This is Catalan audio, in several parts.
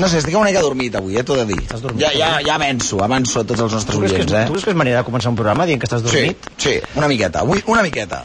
No sé, estic una mica adormit avui, eh, t'ho de dir. Estàs dormit, ja, ja, ja avanço, avanço a tots els nostres Tu creus, que és, oients, eh? tu creus que és manera de començar un programa dient que estàs Sí, dormit? sí, una miqueta, avui una miqueta.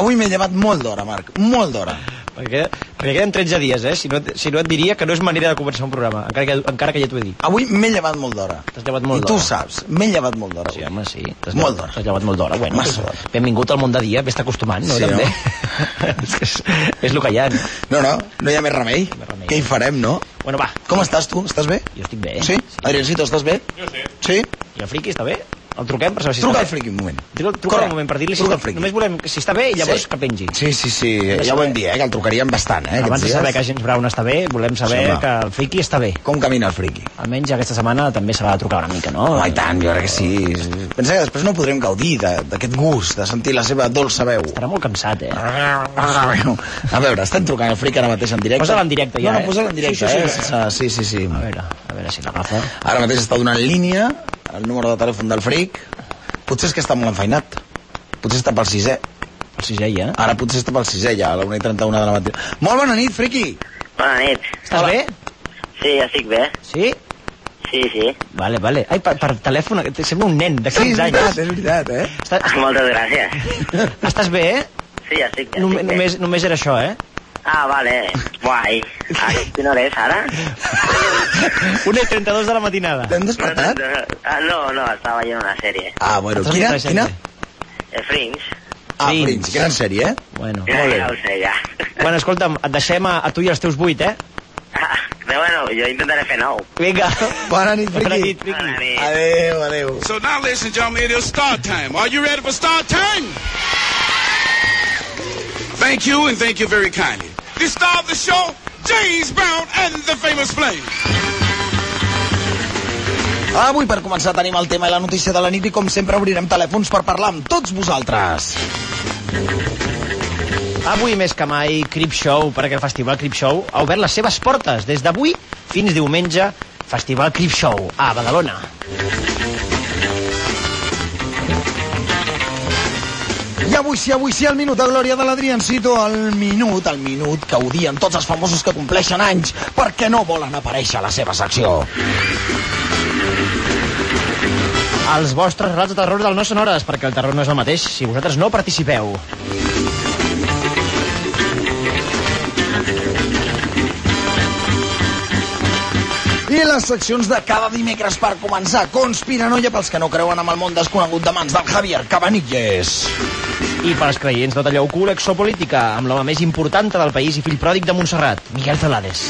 Avui m'he llevat molt d'hora, Marc, molt d'hora. Perquè, perquè queden 13 dies, eh? Si no, et- si no et diria que no és manera de començar un programa, encara que, encara que ja t'ho he dit. Avui m'he llevat molt d'hora. T'has llevat molt I tu ho d'hora. saps, m'he llevat molt d'hora. Sí, avui. home, sí. T'has llevat- Molt d'hora. T'has llevat molt d'hora. Bueno, Massa doncs, d'hora. benvingut al món de dia, vés acostumant, no? Sí, també. no? és, que és, és el que hi ha. no? No, no, no hi ha més remei. més remei. Què hi farem, no? Bueno, va, Com estàs tu? Estàs bé? jo estic bé. Sí? Adriancito, estàs bé? Jo sí. Sí? I el friki està bé? El truquem per saber si Truca al està bé. friqui un moment. Truca, truca Corre, un moment per dir-li si truca està al friqui. Només volem que si està bé i llavors Sí. que pengi. Sí, sí, sí, ja ho vam dir, eh, que el trucaríem bastant, eh, Abans aquests de saber que dies. James Brown està bé, volem saber Sí, home. que el friki està bé. Com camina el friqui? Almenys aquesta setmana també s'ha de trucar una mica, no? Home, i tant, jo crec que sí. Pensa que després no podrem gaudir de- d'aquest gust, de sentir la seva dolça veu. Ah, Estarà molt cansat, eh? A veure, estem trucant el fric ara mateix en directe. Posa-la en directe, ja, No, no, eh? posa-la en Sí, directe, sí, eh? sí. sense- Sí, sí, sí. A veure, a veure si l'agafa. Ara mateix està donant línia el número de telèfon del fric. Potser és que està molt enfeinat. Potser està pel sisè. El sisè ja. Ara potser està pel sisè ja, a la 1 i 31 de la matina. Molt bona nit, friqui! Bona nit. Estàs bé? Sí, ja estic bé. Sí? Sí, sí. Vale, vale. Ai, per, per telèfon, et sembla un nen de 15 és veritat, anys. és veritat, eh? Està, Moltes gràcies. estàs bé, eh? Sí, ja estic, ja Nom, estic bé. només, només era això, eh? Ah, vale. Guai. Ai, quina hora és ara? 1.32 de la matinada. T'hem despertat? Ah, no, no, estava veient una sèrie. Ah, bueno, Estàs quina? molt quina? present. Eh, Fringe. Ah, Fringe. Fringe, gran sèrie, eh? Bueno. Ja, Molt bé. ja ho sé, ja. Bueno, escolta'm, et deixem a, a tu i els teus vuit, eh? Ah, Però bueno, jo intentaré fer nou. Vinga. Bona nit, Bona friqui. nit, friqui. Bona nit. Adéu, adéu. So now, ladies and gentlemen, it is start time. Are you ready for start time? Thank you, and thank you very kindly. The star of the show, James Brown and the Famous Flame. Avui per començar tenim el tema i la notícia de la nit i com sempre obrirem telèfons per parlar amb tots vosaltres. Avui més que mai, Crip Show, perquè el Festival Crip Show ha obert les seves portes des d'avui fins diumenge, Festival Crip Show a Badalona. I avui sí, avui sí, el minut de glòria de l'Adriancito, el minut, el minut que odien tots els famosos que compleixen anys perquè no volen aparèixer a la seva secció. Els vostres relats de terror del no són hores, perquè el terror no és el mateix si vosaltres no participeu. I les seccions de cada dimecres per començar. Conspiranoia pels que no creuen amb el món desconegut de mans del Javier Cabanilles. I pels creients no talleu cul, exopolítica, amb l'home més important del país i fill pròdig de Montserrat, Miguel Celades.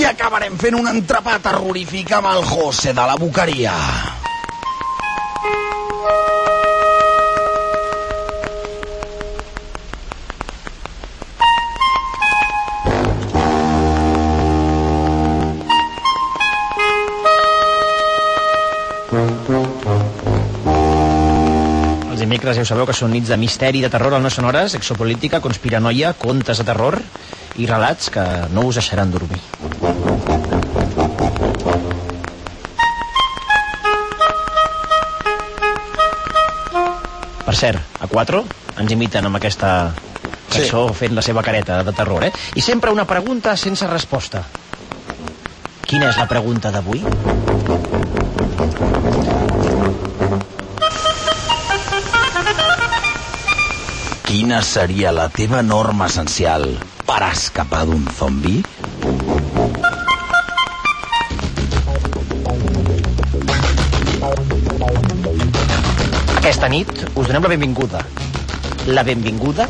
I acabarem fent un entrepà terrorífic amb el José de la Boqueria. Els dimecres ja ho sabeu que són nits de misteri, de terror al no són hores, exopolítica, conspiranoia, contes de terror i relats que no us deixaran dormir. Per cert, a 4 ens imiten amb aquesta Sí. cançó fent la seva careta de terror, eh? I sempre una pregunta sense resposta. Quina és la pregunta d'avui? Quina seria la teva norma essencial per escapar d'un zombi? Aquesta nit us donem la benvinguda. La benvinguda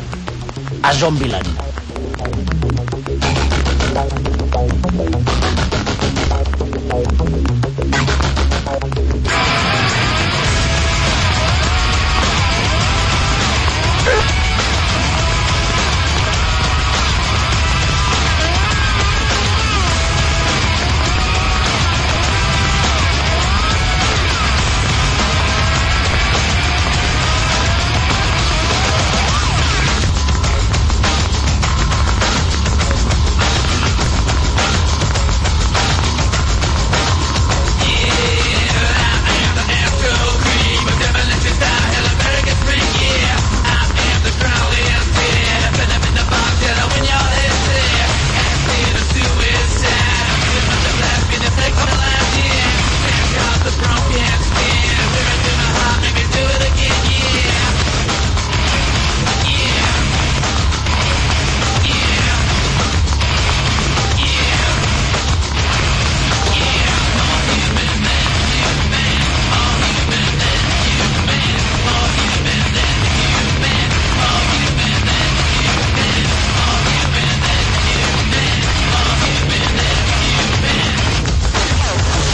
a Zombieland.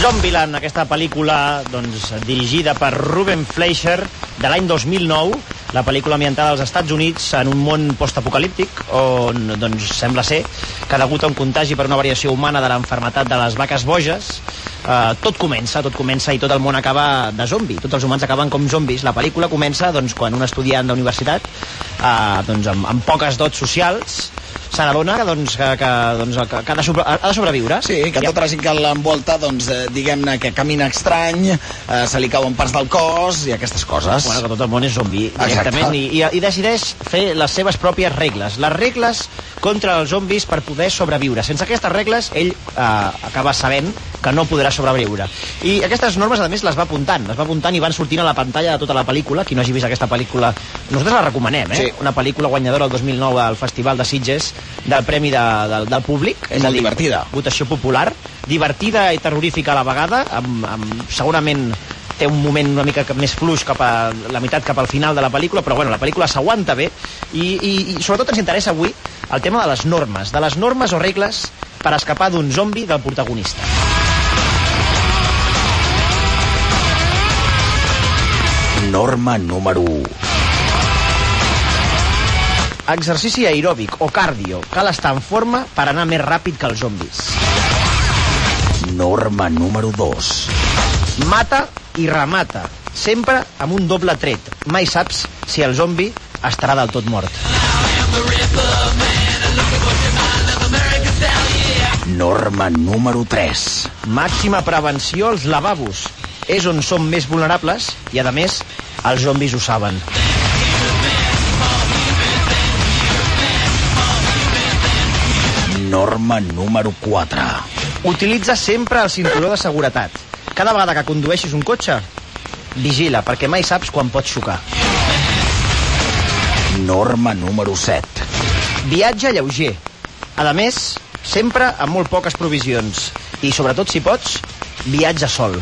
Zombieland, aquesta pel·lícula doncs, dirigida per Ruben Fleischer de l'any 2009, la pel·lícula ambientada als Estats Units en un món postapocalíptic on doncs, sembla ser que degut a un contagi per una variació humana de l'enfermetat de les vaques boges eh, tot comença, tot comença i tot el món acaba de zombi, tots els humans acaben com zombis la pel·lícula comença doncs, quan un estudiant d'universitat eh, doncs, amb, amb poques dots socials s'adona doncs, que, que, doncs, que, que ha, de sobre, ha de sobreviure Sí, que I- tota la gent que l'envolta, doncs, eh, diguem-ne que camina estrany, eh, se li cauen parts del cos i aquestes coses. Bueno, que tot el món és zombi, Exacte. directament, i, i, i decideix fer les seves pròpies regles. Les regles contra els zombis per poder sobreviure. Sense aquestes regles, ell eh, acaba sabent que no podrà sobreviure. I aquestes normes, a més, les va apuntant. Les va apuntant i van sortint a la pantalla de tota la pel·lícula. Qui no hagi vist aquesta pel·lícula, nosaltres la recomanem, eh? Sí. Una pel·lícula guanyadora el 2009 al Festival de Sitges del Premi de, del, del Públic. És molt divertida. Votació popular, divertida i terrorífica a la vegada, amb, amb, segurament té un moment una mica més fluix cap a la meitat, cap al final de la pel·lícula, però bueno, la pel·lícula s'aguanta bé i, i, i sobretot ens interessa avui el tema de les normes, de les normes o regles per escapar d'un zombi del protagonista. Norma número 1. Exercici aeròbic o cardio. Cal estar en forma per anar més ràpid que els zombis. Norma número 2. Mata i remata. Sempre amb un doble tret. Mai saps si el zombi estarà del tot mort. Norma número 3. Màxima prevenció als lavabos. És on som més vulnerables i, a més, els zombis ho saben. Norma número 4. Utilitza sempre el cinturó de seguretat. Cada vegada que condueixis un cotxe, vigila, perquè mai saps quan pots xocar. Norma número 7. Viatge lleuger. A més, sempre amb molt poques provisions. I, sobretot, si pots, viatja sol.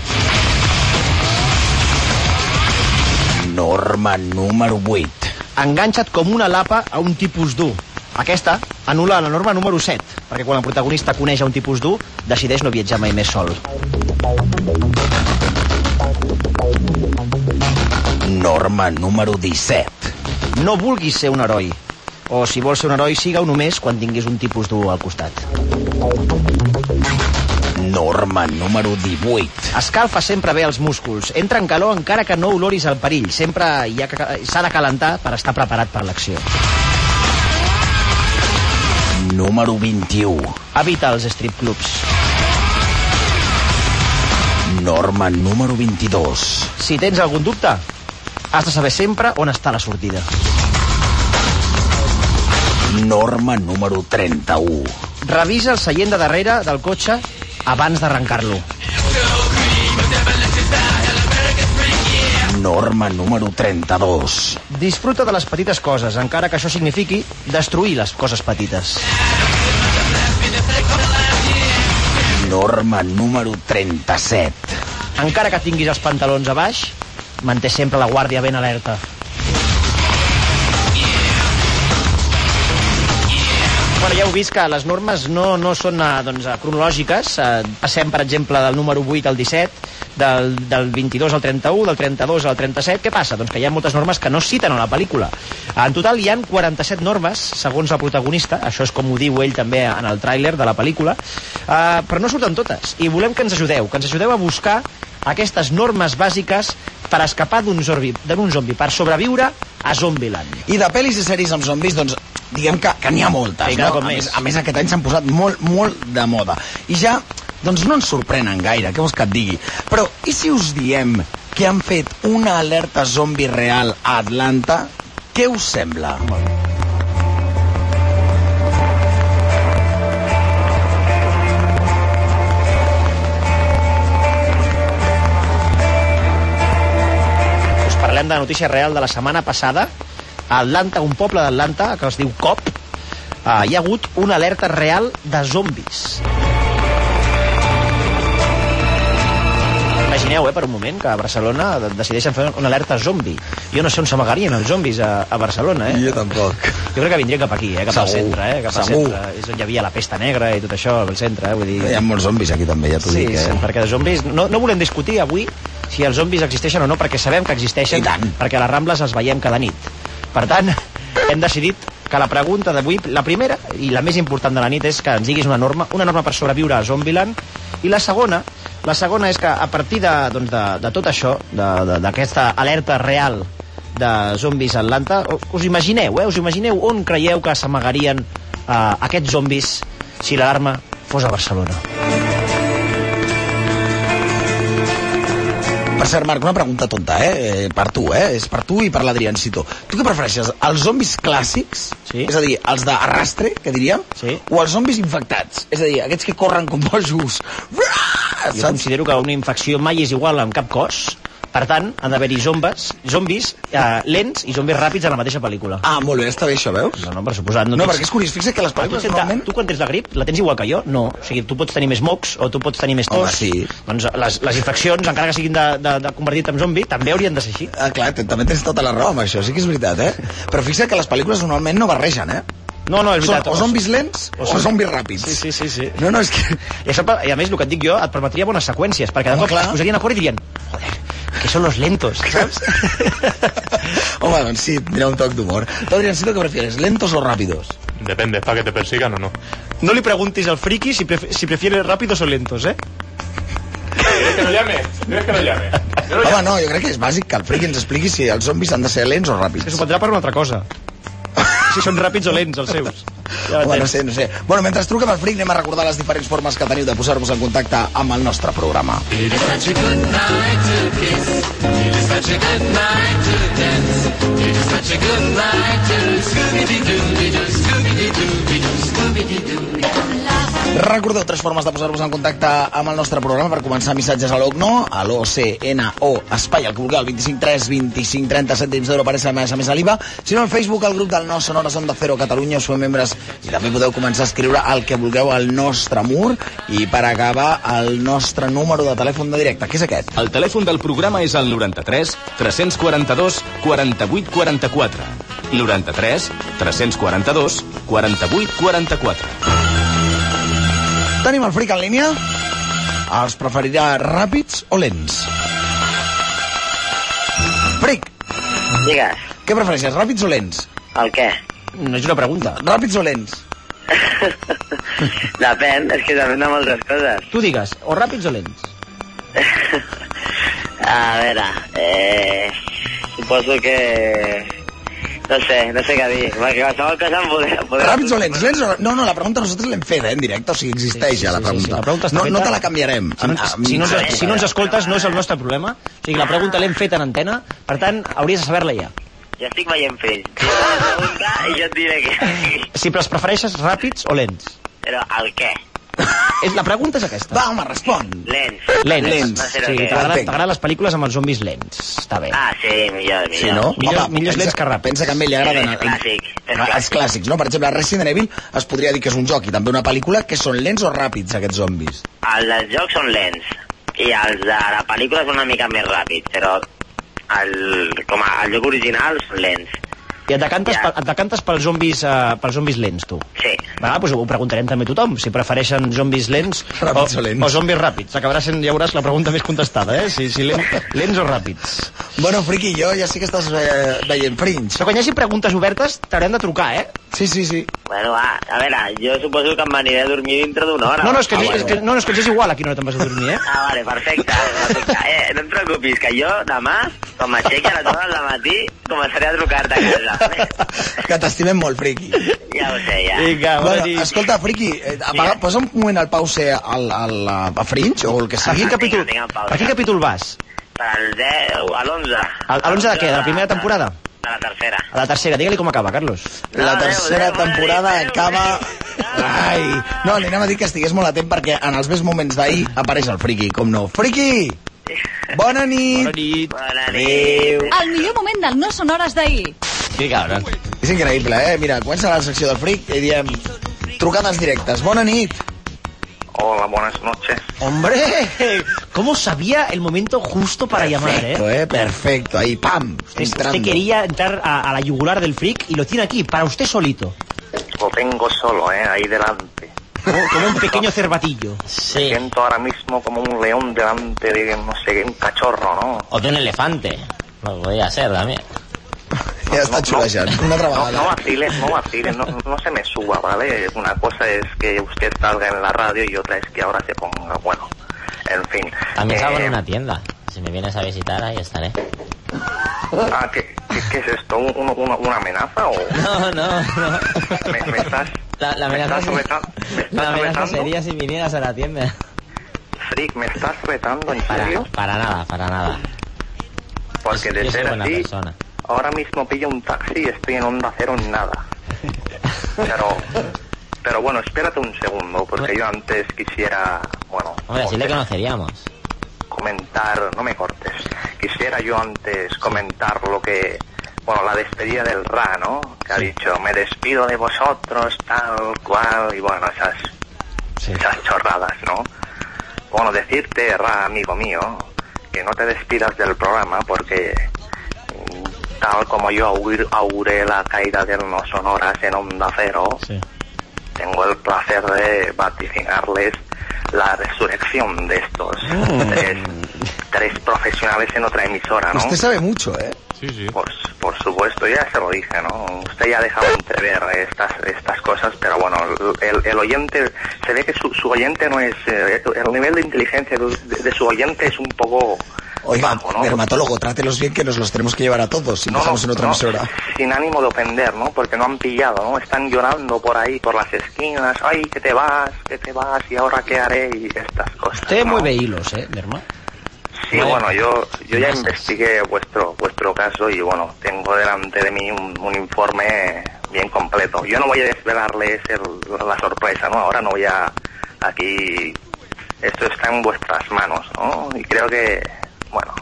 Norma número 8. enganxa't com una lapa a un tipus dur. Aquesta anul·la la norma número 7, perquè quan el protagonista coneix a un tipus dur, decideix no viatjar mai més sol. Norma número 17. No vulguis ser un heroi. O, si vols ser un heroi, siga-ho només quan tinguis un tipus dur al costat. Norma número 18. Escalfa sempre bé els músculs. Entra en calor encara que no oloris el perill. Sempre hi ha que- s'ha de calentar per estar preparat per l'acció. Número 21. Evita els strip clubs. Norma número 22. Si tens algun dubte, has de saber sempre on està la sortida. Norma número 31. Revisa el seient de darrere del cotxe abans d'arrencar-lo. Norma número 32. Disfruta de les petites coses, encara que això signifiqui destruir les coses petites. Norma número 37. Encara que tinguis els pantalons a baix, manté sempre la guàrdia ben alerta. Bueno, ja heu vist que les normes no, no són eh, doncs, eh, cronològiques. Eh, passem, per exemple, del número 8 al 17, del, del 22 al 31, del 32 al 37. Què passa? Doncs que hi ha moltes normes que no es citen a la pel·lícula. En total hi han 47 normes, segons el protagonista. Això és com ho diu ell també en el tràiler de la pel·lícula. Eh, però no surten totes. I volem que ens ajudeu, que ens ajudeu a buscar aquestes normes bàsiques per escapar d'un zombi, d'un zombi, per sobreviure a Zombieland. I de pel·lis i sèries amb zombis, doncs, diguem que, que n'hi ha moltes, Sí, cada no? cop A més. més, a més, aquest any s'han posat molt, molt de moda. I ja, doncs, no ens sorprenen gaire, què vols que et digui? Però, i si us diem que han fet una alerta zombi real a Atlanta? Què us sembla? Us parlem de la notícia real de la setmana passada. A Atlanta, un poble d'Atlanta que es diu Cop, eh, hi ha hagut una alerta real de zombis. Imagineu, eh, per un moment, que a Barcelona de- decideixen fer una alerta zombi. Jo no sé on s'amagarien els zombis a, a Barcelona, eh? tampoc. Jo crec que vindria cap aquí, eh? cap al Segur, centre. Eh? Cap al segur. centre. És on hi havia la pesta negra i tot això, al centre. Eh? Vull dir... Hi ha molts zombis aquí també, ja t'ho Sí, dic. Eh? sí, perquè els zombis... No, no volem discutir avui si els zombis existeixen o no, perquè sabem que I existeixen, tant. perquè a les Rambles els veiem cada nit. Per tant, hem decidit que la pregunta d'avui, la primera i la més important de la nit és que ens diguis una norma, una norma per sobreviure a Zombieland, i la segona, la segona és que a partir de, doncs de, de tot això, de- de- d'aquesta alerta real de zombis a Atlanta, o- us imagineu, eh? Us imagineu on creieu que s'amagarien eh, aquests zombis si l'alarma fos a Barcelona? Per cert, Marc, una pregunta tonta, eh? Eh, Per tu, eh? És per tu i per l'Adrián Cito. Tu què prefereixes, els zombis clàssics? Sí. És a dir, els d'arrastre, que diríem? Sí. O els zombis infectats? És a dir, aquests que corren com bojos. Jo considero que una infecció mai és igual en cap cos, per tant, han d'haver-hi zombes, zombis eh, lents i zombis ràpids a la mateixa pel·lícula. Ah, molt bé, està bé això, veus? No, no, per suposat. No, No, perquè és curiós, fixa't que les tu, pel·lícules tens, normalment... tu quan tens la grip la tens igual que jo? No. O sigui, tu pots tenir més mocs o tu pots tenir més tos. Home, sí. Doncs les, les infeccions, encara que siguin de, de, de convertir-te en zombi, també haurien de ser així. Ah, clar, t- també tens tota la raó amb això, sí que és veritat, eh? Però fixa't que les pel·lícules normalment no barregen, eh? No, no, és veritat. Són o zombis lents o, o- zombis ràpids. Sí, sí, sí, sí. No, no, és que... I, això, per- i a més, el que et dic jo et permetria bones seqüències, perquè de Home, cop clar. es posarien a córrer i dirien joder, que són los lentos, saps? Home, doncs sí, tindrà un toc d'humor. Tu, Adrián Cito, què prefieres, lentos o rápidos? Depende, ¿para que te persigan o no? No le preguntes al friki si, pref si prefiere rápidos o lentos, ¿eh? ¿Quieres que lo llame? ¿Quieres que lo llame? Yo lo Home, no, jo crec que és bàsic que el friki ens expliqui si els zombis han de ser lents o Que ràpids. s'ho prendrà per una altra cosa. Si són ràpids o lents, els seus. Ja Home, no tens. sé, no sé. Bueno, mentre truquem al fric anem a recordar les diferents formes que teniu de posar-vos en contacte amb el nostre programa. Recordeu tres formes de posar-vos en contacte amb el nostre programa per començar missatges a l'OCNO, a l'OCNO, espai, al que vulgueu, al 25 3 25 30 cèntims d'euro per SMS a més IVA. Si no, al Facebook, al grup del No Sonores Onda Cero Catalunya, us feu membres i també podeu començar a escriure el que vulgueu al nostre mur i per acabar el nostre número de telèfon de directe, que és aquest. El telèfon del programa és el 93 342 48 44. 93 342 48 44. Tenim el fric en línia. Els preferirà ràpids o lents? Fric, Digues, què prefereixes, ràpids o lents? el què? No és una pregunta. Ràpids o lents? depèn, és que depèn de moltes coses. Tu digues, o ràpids o lents? A veure, eh, suposo que... No sé, no sé què dir, perquè qualsevol cosa em podrà... podrà... Ràpids o lents? lents o... No, no, la pregunta nosaltres l'hem fet, eh, en directe, o sigui, existeix ja la pregunta. La pregunta està no, no feta. te la canviarem. Si, no- Ah, si, no, ah, ens, si no ens escoltes, no és el nostre problema. O sigui, la pregunta l'hem fet en antena, per tant, hauries de saber-la ja. Jo estic veient fills. Tu em fas la pregunta I jo et diré que... Si però els prefereixes ràpids o lents? Però el què? És, la pregunta és aquesta. Va, home, respon. Lents. Lents. Lents. Va Sí, ser el què? clar. T'agraden t'agraden les pel·lícules amb els zombis lents. Està bé. Ah, sí, millor, millor. Sí, no? Millors- millors lents que ràpids. Pensa que a ell li agraden... És clàssic, és Ah, Els clàssic. clàssics, no? Per exemple, Resident Evil es podria dir que és un joc i també una pel·lícula que són lents o ràpids, aquests zombis. Ah, Els dels jocs són lents i els de la pel·lícula són una mica més ràpids, però el, com a, el joc original són lents. I et decantes, Ja. pel- et decantes pels zombis, eh, pels zombis lents, tu. Sí. Va, doncs ho preguntarem també a tothom, si prefereixen zombis lents o, Ràpids o lents. o zombis ràpids. Acabarà sent, ja veuràs, la pregunta més contestada, eh? Si, si lent, lents o ràpids. Bueno, friqui, jo ja sé que estàs eh, veient Fringe. Però quan hi hagi preguntes obertes, t'haurem de trucar, eh? Sí, sí, sí. Bueno, va, a veure, jo suposo que em aniré a dormir dintre d'una hora. No, no, és que, ah, ens- és que, no, no, és que ens és igual a quina hora te'n vas a dormir, eh? Ah, vale, perfecte. perfecte. Eh, no et preocupis, que jo demà, quan m'aixequi a les 2 del matí, començaré a trucar-te a casa. Que t'estimem molt, friqui. Ja ho sé, ja. Vinga, bona Bueno, nit. escolta, friqui, eh, apaga, Digue'm. posa un moment al pause al, al, a Fringe o el que Per quin sigui. cap- capítol, vinga, Pau, per quin ja. capítol vas? Per al 10 o a l'11. Al- a l'11 de què? De la primera temporada? De la tercera. A la tercera, digue-li com acaba, Carlos. La No, tercera adéu, adéu, temporada adéu, acaba... adéu. Ai, no, li anem a dir que estigués molt atent perquè en els més moments d'ahir apareix el friqui, com no. Friqui! Bona nit! nit. Bona nit. Adéu! Ah! El millor moment del No Sonores d'ahir. Que cabron. És increïble, eh? Mira, comença la secció del fric i diem... Trucades directes. Bona nit! Hola, buenas noches. Hombre! ¿Cómo sabía el momento justo para llamar, eh? Perfecto, eh? Perfecto. Ahí, pam. Está Usted, entrando. usted quería entrar a, a la yugular del freak y lo tiene aquí, para usted solito. Lo tengo solo, ¿eh? Ahí delante. Como, como un pequeño cervatillo. Sí. Siento ahora mismo como un león delante de, no sé, un cachorro, ¿no? O de un elefante. No podía ser también. Ja està Ah, xulejant. Una altra No, vegada. no vaciles, no vaciles, no, no se me suba, ¿vale? Una cosa es que usted salga en la radio y otra es que ahora se ponga, bueno, en fin. También salgo Eh, en una tienda. Si me vienes a visitar, ahí estaré. ah, ¿qué, qué, qué es esto? ¿Un- un- una- ¿Una amenaza o...? No, no, no. Me, me estás... La, la me amenaza, estás se- reta- me estás la amenaza retando? sería si vinieras a la tienda. Frick, ¿me estás retando en Para, serio? para nada, para nada. Porque Yo de soy ser buena así, persona. ahora mismo pillo un taxi y estoy en onda cero en nada. Pero, pero bueno, espérate un segundo, porque yo antes quisiera, bueno, Hombre, si le comen- conoceríamos. comentar, no me cortes, quisiera yo antes comentar lo que, bueno, la despedida del Ra, ¿no? Que ha dicho, me despido de vosotros, tal cual, y bueno, esas, esas chorradas, ¿no? Bueno, decirte, Ra, amigo mío, que no te despidas del programa porque mm, tal como yo augur- auguré la caída de unos sonoras en Onda Cero, tengo el placer de vaticinarles la resurrección de estos tres, tres profesionales en otra emisora, Ah, ¿no? Usted sabe mucho, eh? Sí, sí. Por, por supuesto, ya se lo dije, ¿no? Usted ya ha dejado entrever estas, estas cosas, pero bueno, el, el oyente, se ve que su, su oyente no es, eh, el nivel de inteligencia de, de su oyente es un poco Oiga, bajo, ¿no? dermatólogo, trátelos bien que nos los tenemos que llevar a todos si No, empezamos en otra no, emisora. Sin ánimo de ofender, ¿no? Porque no han pillado, ¿no? Están llorando por ahí, por las esquinas, ay, que te vas, que te vas, y ahora qué haré, y estas cosas. Usted ¿no? mueve hilos, eh, Derma. Sí, Vale. bueno, yo, yo ya Gracias. investigué vuestro vuestro caso y bueno, tengo delante de mí un, un informe bien completo. Yo no voy a desvelarles el- la sorpresa, ¿no? Ahora no voy a aquí. Esto está en vuestras manos, ¿no? Y creo que, bueno,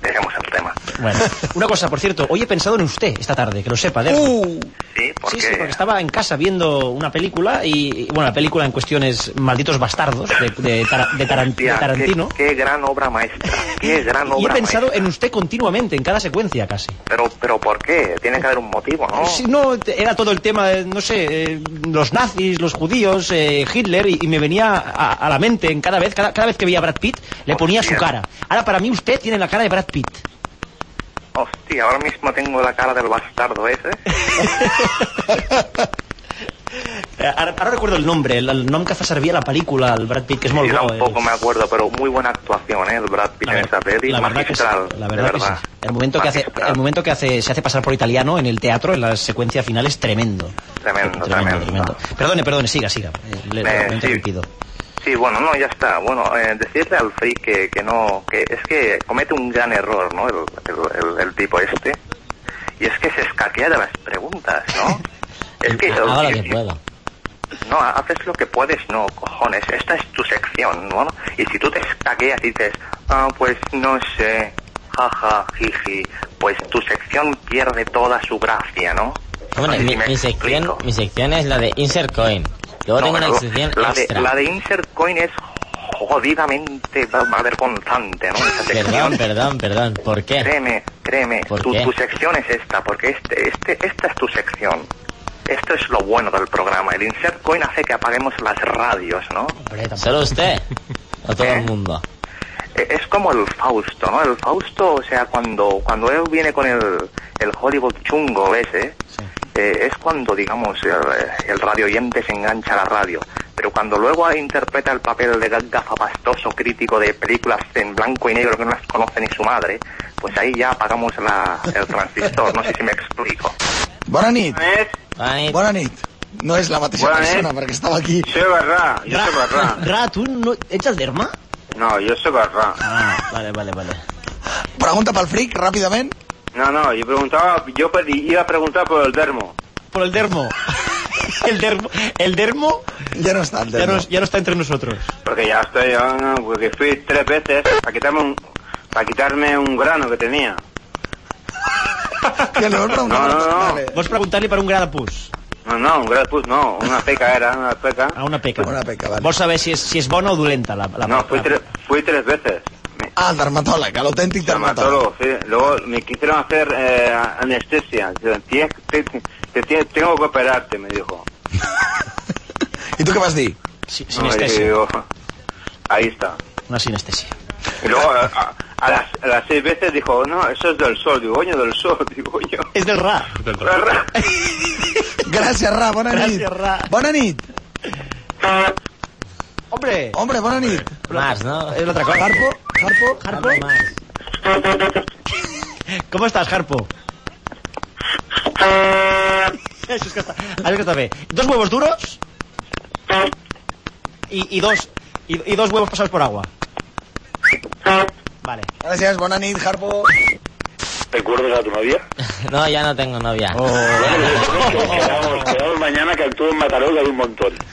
dejemos el tema. Bueno, una cosa, por cierto, hoy he pensado en usted esta tarde, que lo sepa, Derma. Sí, porque Sí, sí, porque estaba en casa viendo una película y, y, bueno, la película en cuestión es Malditos Bastardos, de, de Tara- de Taran- de Hostia, qué- Tarantino. Qué, gran obra maestra. Qué gran Y he obra pensado maestra. en usted continuamente, en cada secuencia casi. Pero, pero ¿por qué? Tiene que haber un motivo, ¿no? Si no, te- era todo el tema, de, no sé, eh, los nazis, los judíos, eh, Hitler, y, y me venía a, a la mente en cada vez, cada, cada vez que veía a Brad Pitt, le ponía su Hostia. cara. Ahora para mí usted tiene la cara de Brad Pitt. Hostia, ahora mismo tengo la cara del bastardo ese. Eh, Ara, ara recordo el nombre, el, el nom que fa servir a la pel·lícula, el Brad Pitt, que és molt Yo bo. eh? tampoco me acuerdo, pero muy buena actuación, ¿eh? El Brad Pitt La en ver- esta peli. la verdad que sí, magistral, la de verdad que sí. El momento que hace, Magistral. el momento que hace, se hace pasar por italiano en el teatro, en la secuencia final es tremendo. Tremendo, tremendo. Perdone, perdone, siga, siga. Eh, Le, Eh, lo he Ah. sí. interrumpido. Sí, bueno, no, ya está. Bueno, eh, decirle al Free que, que no, que es que comete un gran error, ¿no? El, el- el- el tipo este. Y es que se escaquea de las preguntas, ¿no? es que... Hago lo el- que puedo. No, haces lo que puedes, no, cojones. Esta es tu sección, ¿no? Y si tú te escaqueas y dices, ah, pues no sé, jaja, jiji, pues tu sección pierde toda su gracia, ¿no? No Hombre, sé si mi, me mi sección, explico. mi sección es la de Insert Coin. Luego No, tengo una pero sección la, de, extra. la de Insert Coin es jodidamente avergonzante, ¿no? Esa sección. Perdón, perdón, perdón. ¿Por qué? Créeme, créeme, ¿Por tu, qué? tu sección es esta, porque este, este, esta es tu sección. Esto es lo bueno del programa. El Insert Coin hace que apaguemos las radios, ¿no? ¿Solo usted? ¿O todo el mundo? Eh, Es como el Fausto, ¿no? El Fausto, o sea, cuando, cuando él viene con el, el Hollywood chungo ese, eh, es cuando, digamos, el, el radio oyente se engancha a la radio. Pero cuando luego interpreta el papel de ga- gafapastoso crítico de películas en blanco y negro que no las conoce ni su madre, pues ahí ya apagamos la, el transistor. No sé si me explico. Bona nit. Ay, Bona nit. No és la mateixa Bona nit. persona, perquè estava aquí. Soy Barra, yo soy Ra, Barra. Ra, tu no... Ets el derma? No, yo soy Barra. Ah, vale, vale, vale. Pregunta pel fric, ràpidament. No, no, yo preguntaba, yo pedí- iba a preguntar por el dermo. Por el dermo. El dermo, el dermo Ja no està el ya, no, Telmo. ya no está entre nosotros. Porque ya estoy, ah, no, porque fui tres veces para quitarme un, para quitarme un grano que tenía. Que no, no, No, no, no. Vale. Vos preguntarle para un gran pus. No, no, un grano, pues no, una peca era, una peca. A una peca. Una peca, vale. Vos sabés si es, si es bona o dolenta la, la No, fui la- tres, fui tres veces. Ah, el dermatólogo, el auténtico dermatólogo. Dermatólogo, sí. Luego me quisieron hacer eh, anestesia. Dijeron, "Tienes- te- te- te- tengo que operarte, me dijo. ¿Y tú qué vas a decir? No, y digo, ahí está. Una sinestesia. Y luego a, a- a las, a las seis veces dijo, no, eso es del sol. Digo, coño, del sol. Digo, coño. Es del RA. Gràcies, Ra, bona nit. Gràcies, Ra. Bona nit. Hombre, Hombre, bona nit. Eh, Más, ¿no? és l'altra cosa. Harpo, Harpo, Harpo? Com estàs, Harpo? Eh. Això és que està, això és que està bé. Dos huevos duros i, i dos i, i dos huevos pasados por agua. Vale. gràcies, bona nit, Harpo. ¿Te acuerdas a tu novia? No, ya no tengo novia. Oh, Quedamos, quedamos mañana que actúo en Mataró, que hay un montón.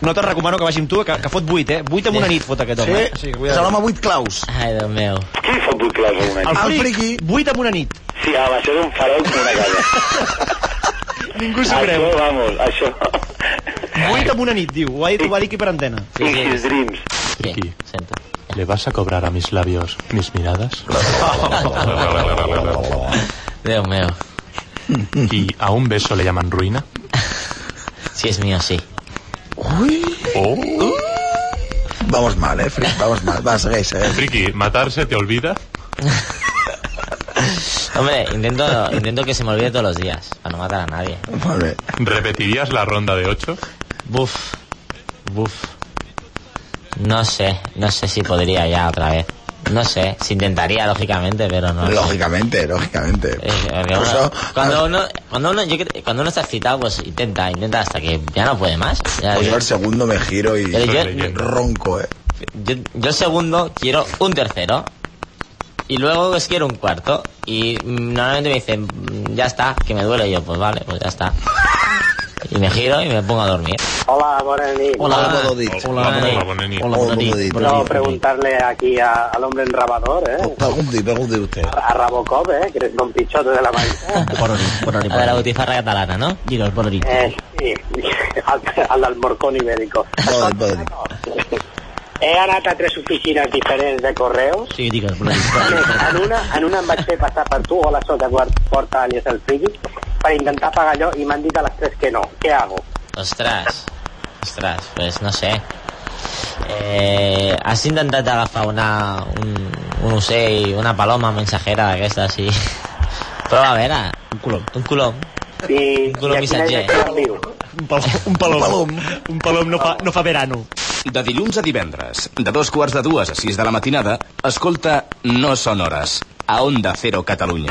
No te'n recomano que vagi amb tu, que, que fot 8, eh? 8 en una nit fot aquest home. Sí, és l'home 8 claus. Ai, Déu meu. Qui fot vuit claus en un any? El, El fric, friqui. 8 en una nit. Sí, a base d'un farol com una casa. Ningú s'ho creu. això, vamos, això. 8 en una nit, diu. Ho ha dit, ho va dir aquí per antena. Sí, sí. His dreams. Sí, sento. ¿Le vas a cobrar a mis labios mis miradas? Oh. Déu meu. ¿Y a un beso le llaman ruina? Si és mío, sí. ¿O? Oh. Vamos mal, eh, Fric, vamos mal. Va, segueix, segueix. Friki, ¿matarse te olvida? Hombre, intento, intento que se me olvide todos los días, para no matar a nadie. Molt bé. ¿Repetirías la ronda de ocho? Buf. Buf. No sé, no sé si podría ya otra vez. No sé, si intentaría, lógicamente, pero Ah, no. sé. Lógicamente, lógicamente. Eh, eh, uno- Incluso- cuando uno, cuando uno, yo cre- cuando uno está excitado, pues intenta, intenta hasta que ya no puede más. Ya- Pues yo yo, al segundo me giro y Pero yo- ronco, eh. yo- yo segundo quiero un tercero y luego pues, quiero un cuarto y mm, normalmente me dicen mm, ya está, que me duele Y yo, pues vale, pues ya está. Y me giro y me pongo a dormir. Hola, buenas noches. Hola, Hola, Bododit. Hola, Dani. hola, bona nit. Hola, Oh, bona nit. Bododit. Bona Quiero nit. preguntarle aquí a- al hombre enrabador, ¿eh? Pregunti, pregunti usted. A Rabocop, ¿eh? Que eres Don Pichote de la mañana. Bona nit, bona nit. A de la butifarra catalana, ¿no? Digue'ls, bona nit. Eh, sí, al, al almorcón ibérico. Bododit, Bododit. He anat a tres oficines diferents de correus. Sí, digue'ls, bona nit. En una, en una em vaig fer passar per tu o la sota quart- porta alias el friki per intentar pagar allò i m'han dit a les tres que no. Què hago? Ostras, ostras, pues no sé. Eh, has intentat agafar una, un, un ocell, una paloma mensajera d'aquestes i... Prova a veure. Un colom. Un colom. I, Culo i a quina missatger. direcció envio? Un palom, un palom, un palom no, fa, no fa verano. De dilluns a divendres, de dos quarts de dues a sis de la matinada, escolta No són hores, a Onda Cero Catalunya.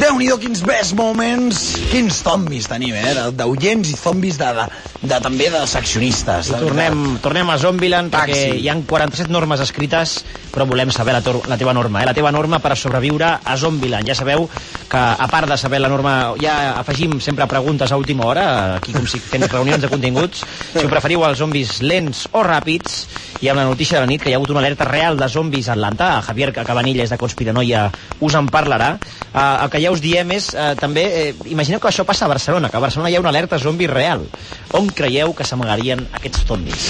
déu nhi quins best moments, quins zombis tenim, eh? de- D'oients i zombis de, de, de, també de seccionistes. I de- tornem, tornem a Zombieland Taxi. perquè hi han 47 normes escrites però volem saber la, tor- la teva norma eh? la teva norma per sobreviure a Zombieland ja sabeu que a part de saber la norma ja afegim sempre preguntes a última hora aquí com si fent reunions de continguts si ho preferiu als zombis lents o ràpids i amb la notícia de la nit que hi ha hagut una alerta real de zombis a Atlanta Javier Cabanilles de Conspiranoia us en parlarà eh, el que ja us diem és és, eh, també, eh, imagineu que això passa a Barcelona, que a Barcelona hi ha una alerta zombi real. On creieu que s'amagarien aquests zombis?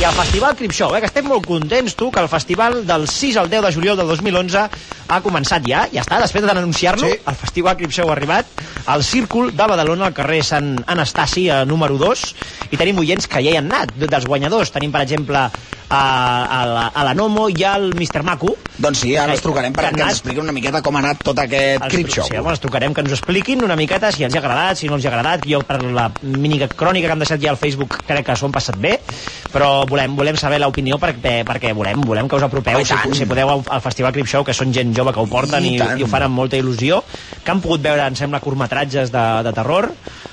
I al Festival Cripshow, eh, que estem molt contents, tu, que el festival del 6 al 10 de juliol del 2011 ha començat ja, ja està, després d'anunciar-lo, sí. el Festival Cripshow ha arribat al Círcul de Badalona, al carrer Sant Anastasi, eh, número 2, i tenim oients que ja hi han anat, de- dels guanyadors. Tenim, per exemple, a, a, la, a la Nomo i al Mr. Maco. Doncs sí, ara els trucarem perquè ens expliquin una miqueta com ha anat tot aquest Cripshow. Sí, home, els trucarem que ens ho expliquin una miqueta, si els ha agradat, si no els ha agradat. Jo, per la mini crònica que hem deixat ja al Facebook, crec que s'ho han passat bé, però volem, volem saber l'opinió perquè, perquè volem, volem que us apropeu, Home, Oh, i si, tant. si podeu, al, al Festival Cripshow, que són gent jove que ho porten I i, tant. i ho fan amb molta il·lusió, que han pogut veure, em sembla, curtmetratges de, de terror,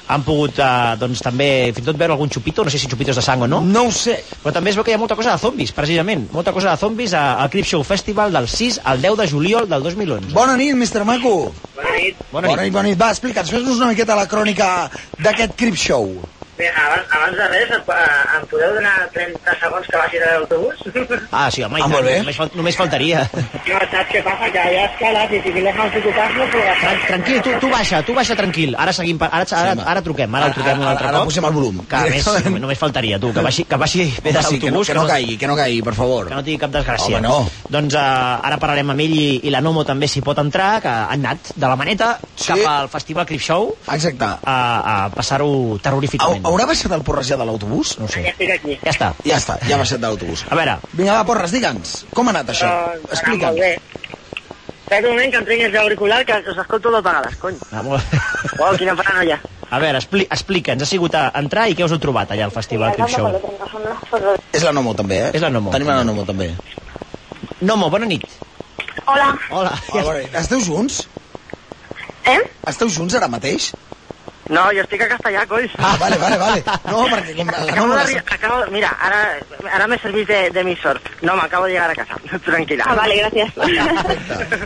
han pogut, eh, doncs, també, fins i tot veure algun xupito, no sé si xupitos de sang o no. No ho sé. Però també es veu que hi ha molta cosa de zombis, precisament. Molta cosa de zombis a- al Crip Show Festival del 6 al 10 de juliol del 2011. Bona nit, Mr. Maco. Bona nit. Bona nit, bona nit. Bona nit. Va, explica'ns, fes-nos una miqueta la crònica d'aquest Crip Show. Bé, abans, abans de res, em, eh, em podeu donar 30 segons que vagi de l'autobús? Ah, sí, home, i Ah, tant, molt bé. Només, fal només faltaria. Jo, saps què passa? Que hi ha escales i si me dejan ocupar no puc agafar. Tranquil, tu, tu baixa, tu baixa tranquil. Ara seguim, pa- ara, ara, ara, ara truquem, ara el truquem un altre Ara cop. posem el volum. Que a més, només- només faltaria, tu, que baixi, que baixi bé de Home, sí, que no- l'autobús. que no caigui, que no caigui, per favor. Que no tingui cap desgràcia. Home, no. Doncs uh, ara parlarem amb ell i, i la Nomo també s'hi pot entrar, que han anat de la maneta sí. cap al Festival Crip Show. Exacte. A, a passar-ho terroríficament. Haurà baixat el porrejar de l'autobús? No ho sé. estic aquí. Ja està. Ja està, ja ha baixat de l'autobús. A veure. Vinga, va, porres, digue'ns, com ha anat això? Eh, Doncs, Ah, Explica'm. molt bé. Espera un moment que em trenguis l'auricular, que us escolto dos vegades, cony. Ah, molt- Uau, quina paranoia. A veure, expli explica'ns, ha sigut a entrar i què us heu trobat allà al Festival Crip Show? És la Nomo també, eh? És la Nomo. Tenim la Nomo també. Nomo, bona nit. Hola. Hola. Hola. Esteu junts? Eh? Esteu junts ara mateix? No, jo estic a castellà, coi. Ah, vale, vale, vale. No, perquè com la Acabo Nomo... de, arri- acabo, mira, ara, ara m'he servit de, de mi sort. No, m'acabo de llegar a casa. Pues, Tranquil·la. Ah, vale, gracias.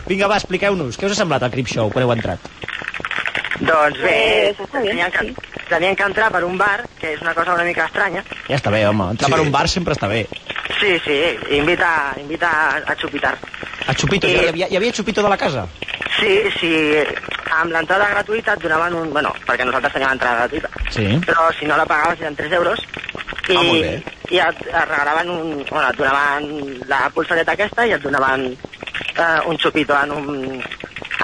Vinga, va, expliqueu-nos, què us ha semblat el Crip Show quan heu entrat? Doncs bé, Pues està bien, tenien que, tenien que entrar per un bar, que és una cosa una mica estranya. Ja està bé, home, entrar sí. per un bar sempre està bé. Sí, sí, invita, invita a, a xupitar. A Chupito, Sí. hi havia, hi havia Chupito de la casa? Sí, sí, eh, amb l'entrada gratuïta et donaven un... Bueno, perquè nosaltres teníem entrada gratuïta. Sí. Mm. Però si no la pagaves eren 3 euros i, Ah, molt bé. i et, et regalaven un... Bueno, et donaven la pulsareta aquesta i et donaven eh, un xupito en un...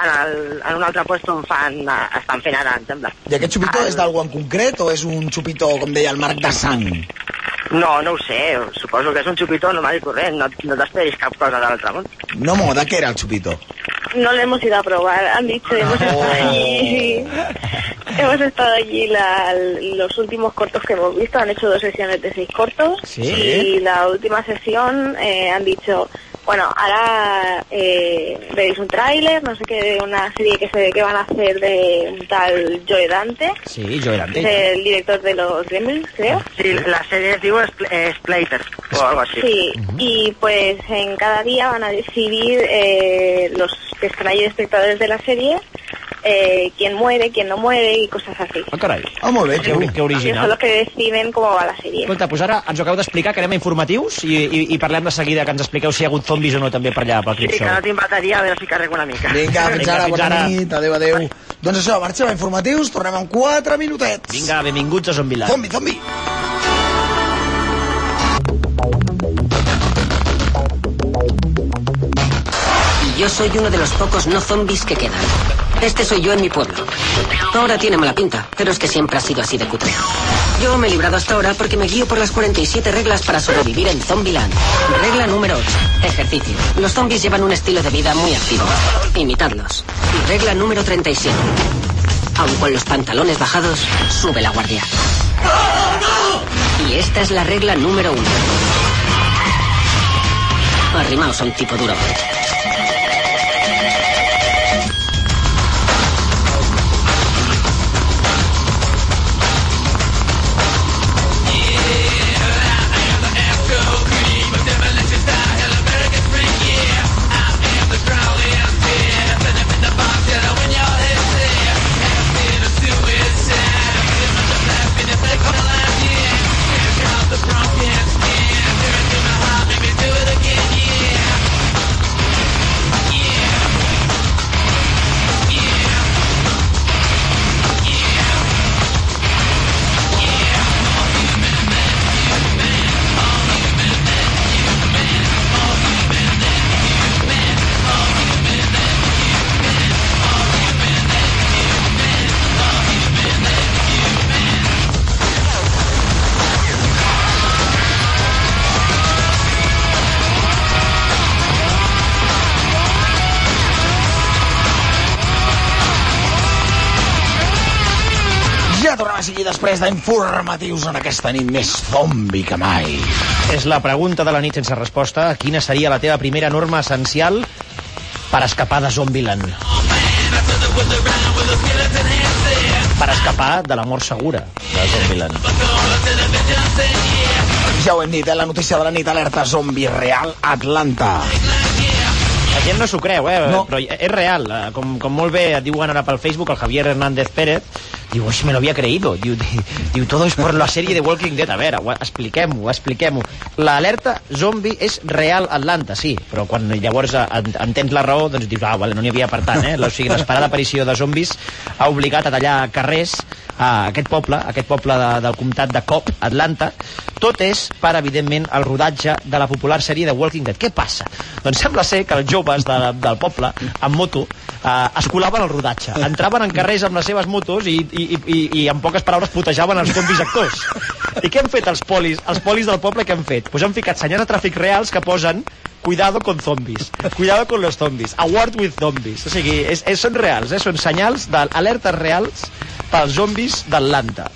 En, el, en un altre lloc on fan, eh, estan fent ara, em sembla. I aquest xupito és d'algú en concret o és un xupito, com deia el Marc, de sang? No, no ho sé, suposo que és un xupito normal i corrent, no, no t'esperis cap cosa de l'altre món. Nomo, de què era el xupito? No lo hemos ido a probar, han dicho, hemos estado allí. hemos estado allí la- los últimos cortos que hemos visto, han hecho dos sesiones de seis cortos Sí. y la última sesión eh, han dicho, bueno, ahora eh, veis un tráiler, no sé qué, de una serie que se que van a hacer de un tal Joe Dante, Sí, jo era que es el director de los Gremlins, creo. Sí, la sèrie es diu Spl- eh, Splater, o algo així. Sí, y pues en cada día van a decidir eh, los que están ahí espectadores de la serie eh, quién muere, quién no muere y cosas así. Ah, carai. Ah, molt bé, que, ori- que Que son original. los que deciden cómo va la serie. Escolta, doncs ara ens ho acabeu d'explicar, que anem a informatius i, i, i parlem de seguida, que ens expliqueu si hi ha hagut zombis o no també per allà, pel Sí, Crip que no Show. t'inventaria, a veure si carrego una mica. Vinga, fins Vinga, ara, fins bona ara. nit, adeu, adeu. Doncs això, marxem a informatius, tornem en 4 minutets. Vinga, benvinguts a Zombieland. Zombi, zombi. Y yo soy uno de los pocos no zombies que quedan. Este soy yo en mi pueblo. Ahora tiene mala pinta, pero es que siempre ha sido así de cutre. Yo me he librado hasta ahora porque me guío por las 47 reglas para sobrevivir en Zombieland. Regla número 8. Ejercicio. Los zombies llevan un estilo de vida muy activo. Imitadlos. Y regla número 37. Aun con los pantalones bajados, sube la guardia. Y esta es la regla número 1. Arrimaos a un tipo duro. sigui després d'informatius en aquesta nit més zombi que mai. És la pregunta de la nit sense resposta. Quina seria la teva primera norma essencial per escapar de Zombieland? Per escapar de la mort segura de Zombieland. Ja ho hem dit, eh? la notícia de la nit alerta zombi real Atlanta. La gent no s'ho creu, eh? No. però és real. Eh, Com, com molt bé et diuen ara pel Facebook, el Javier Hernández Pérez, diu, "Uy, me lo había creído. Diu, di- diu, todo es por la sèrie de Walking Dead. A veure, ho- expliquem-ho, expliquem-ho. L'alerta zombi és real Atlanta, sí, però quan llavors eh, en- entens la raó, doncs dius, ah, vale, no n'hi havia per tant, eh? O sigui, l'esperada aparició de zombis ha obligat a tallar carrers a aquest poble, a aquest poble de, del comtat de Cobb, Atlanta, tot és per, evidentment, el rodatge de la popular sèrie de Walking Dead. Què passa? Doncs sembla ser que els joves de, del poble, amb moto, eh, es colaven al rodatge. Entraven en carrers amb les seves motos i, i, i, i- i en poques paraules, putejaven els zombis actors. I què han fet els polis, els polis del poble? Què han fet? Pues han ficat senyals de tràfic reals que posen Cuidado con zombies. Cuidado con los zombies. Award with zombies. O sigui, és, és, són reals, eh? són senyals d'alertes reals pels zombis d'Atlanta.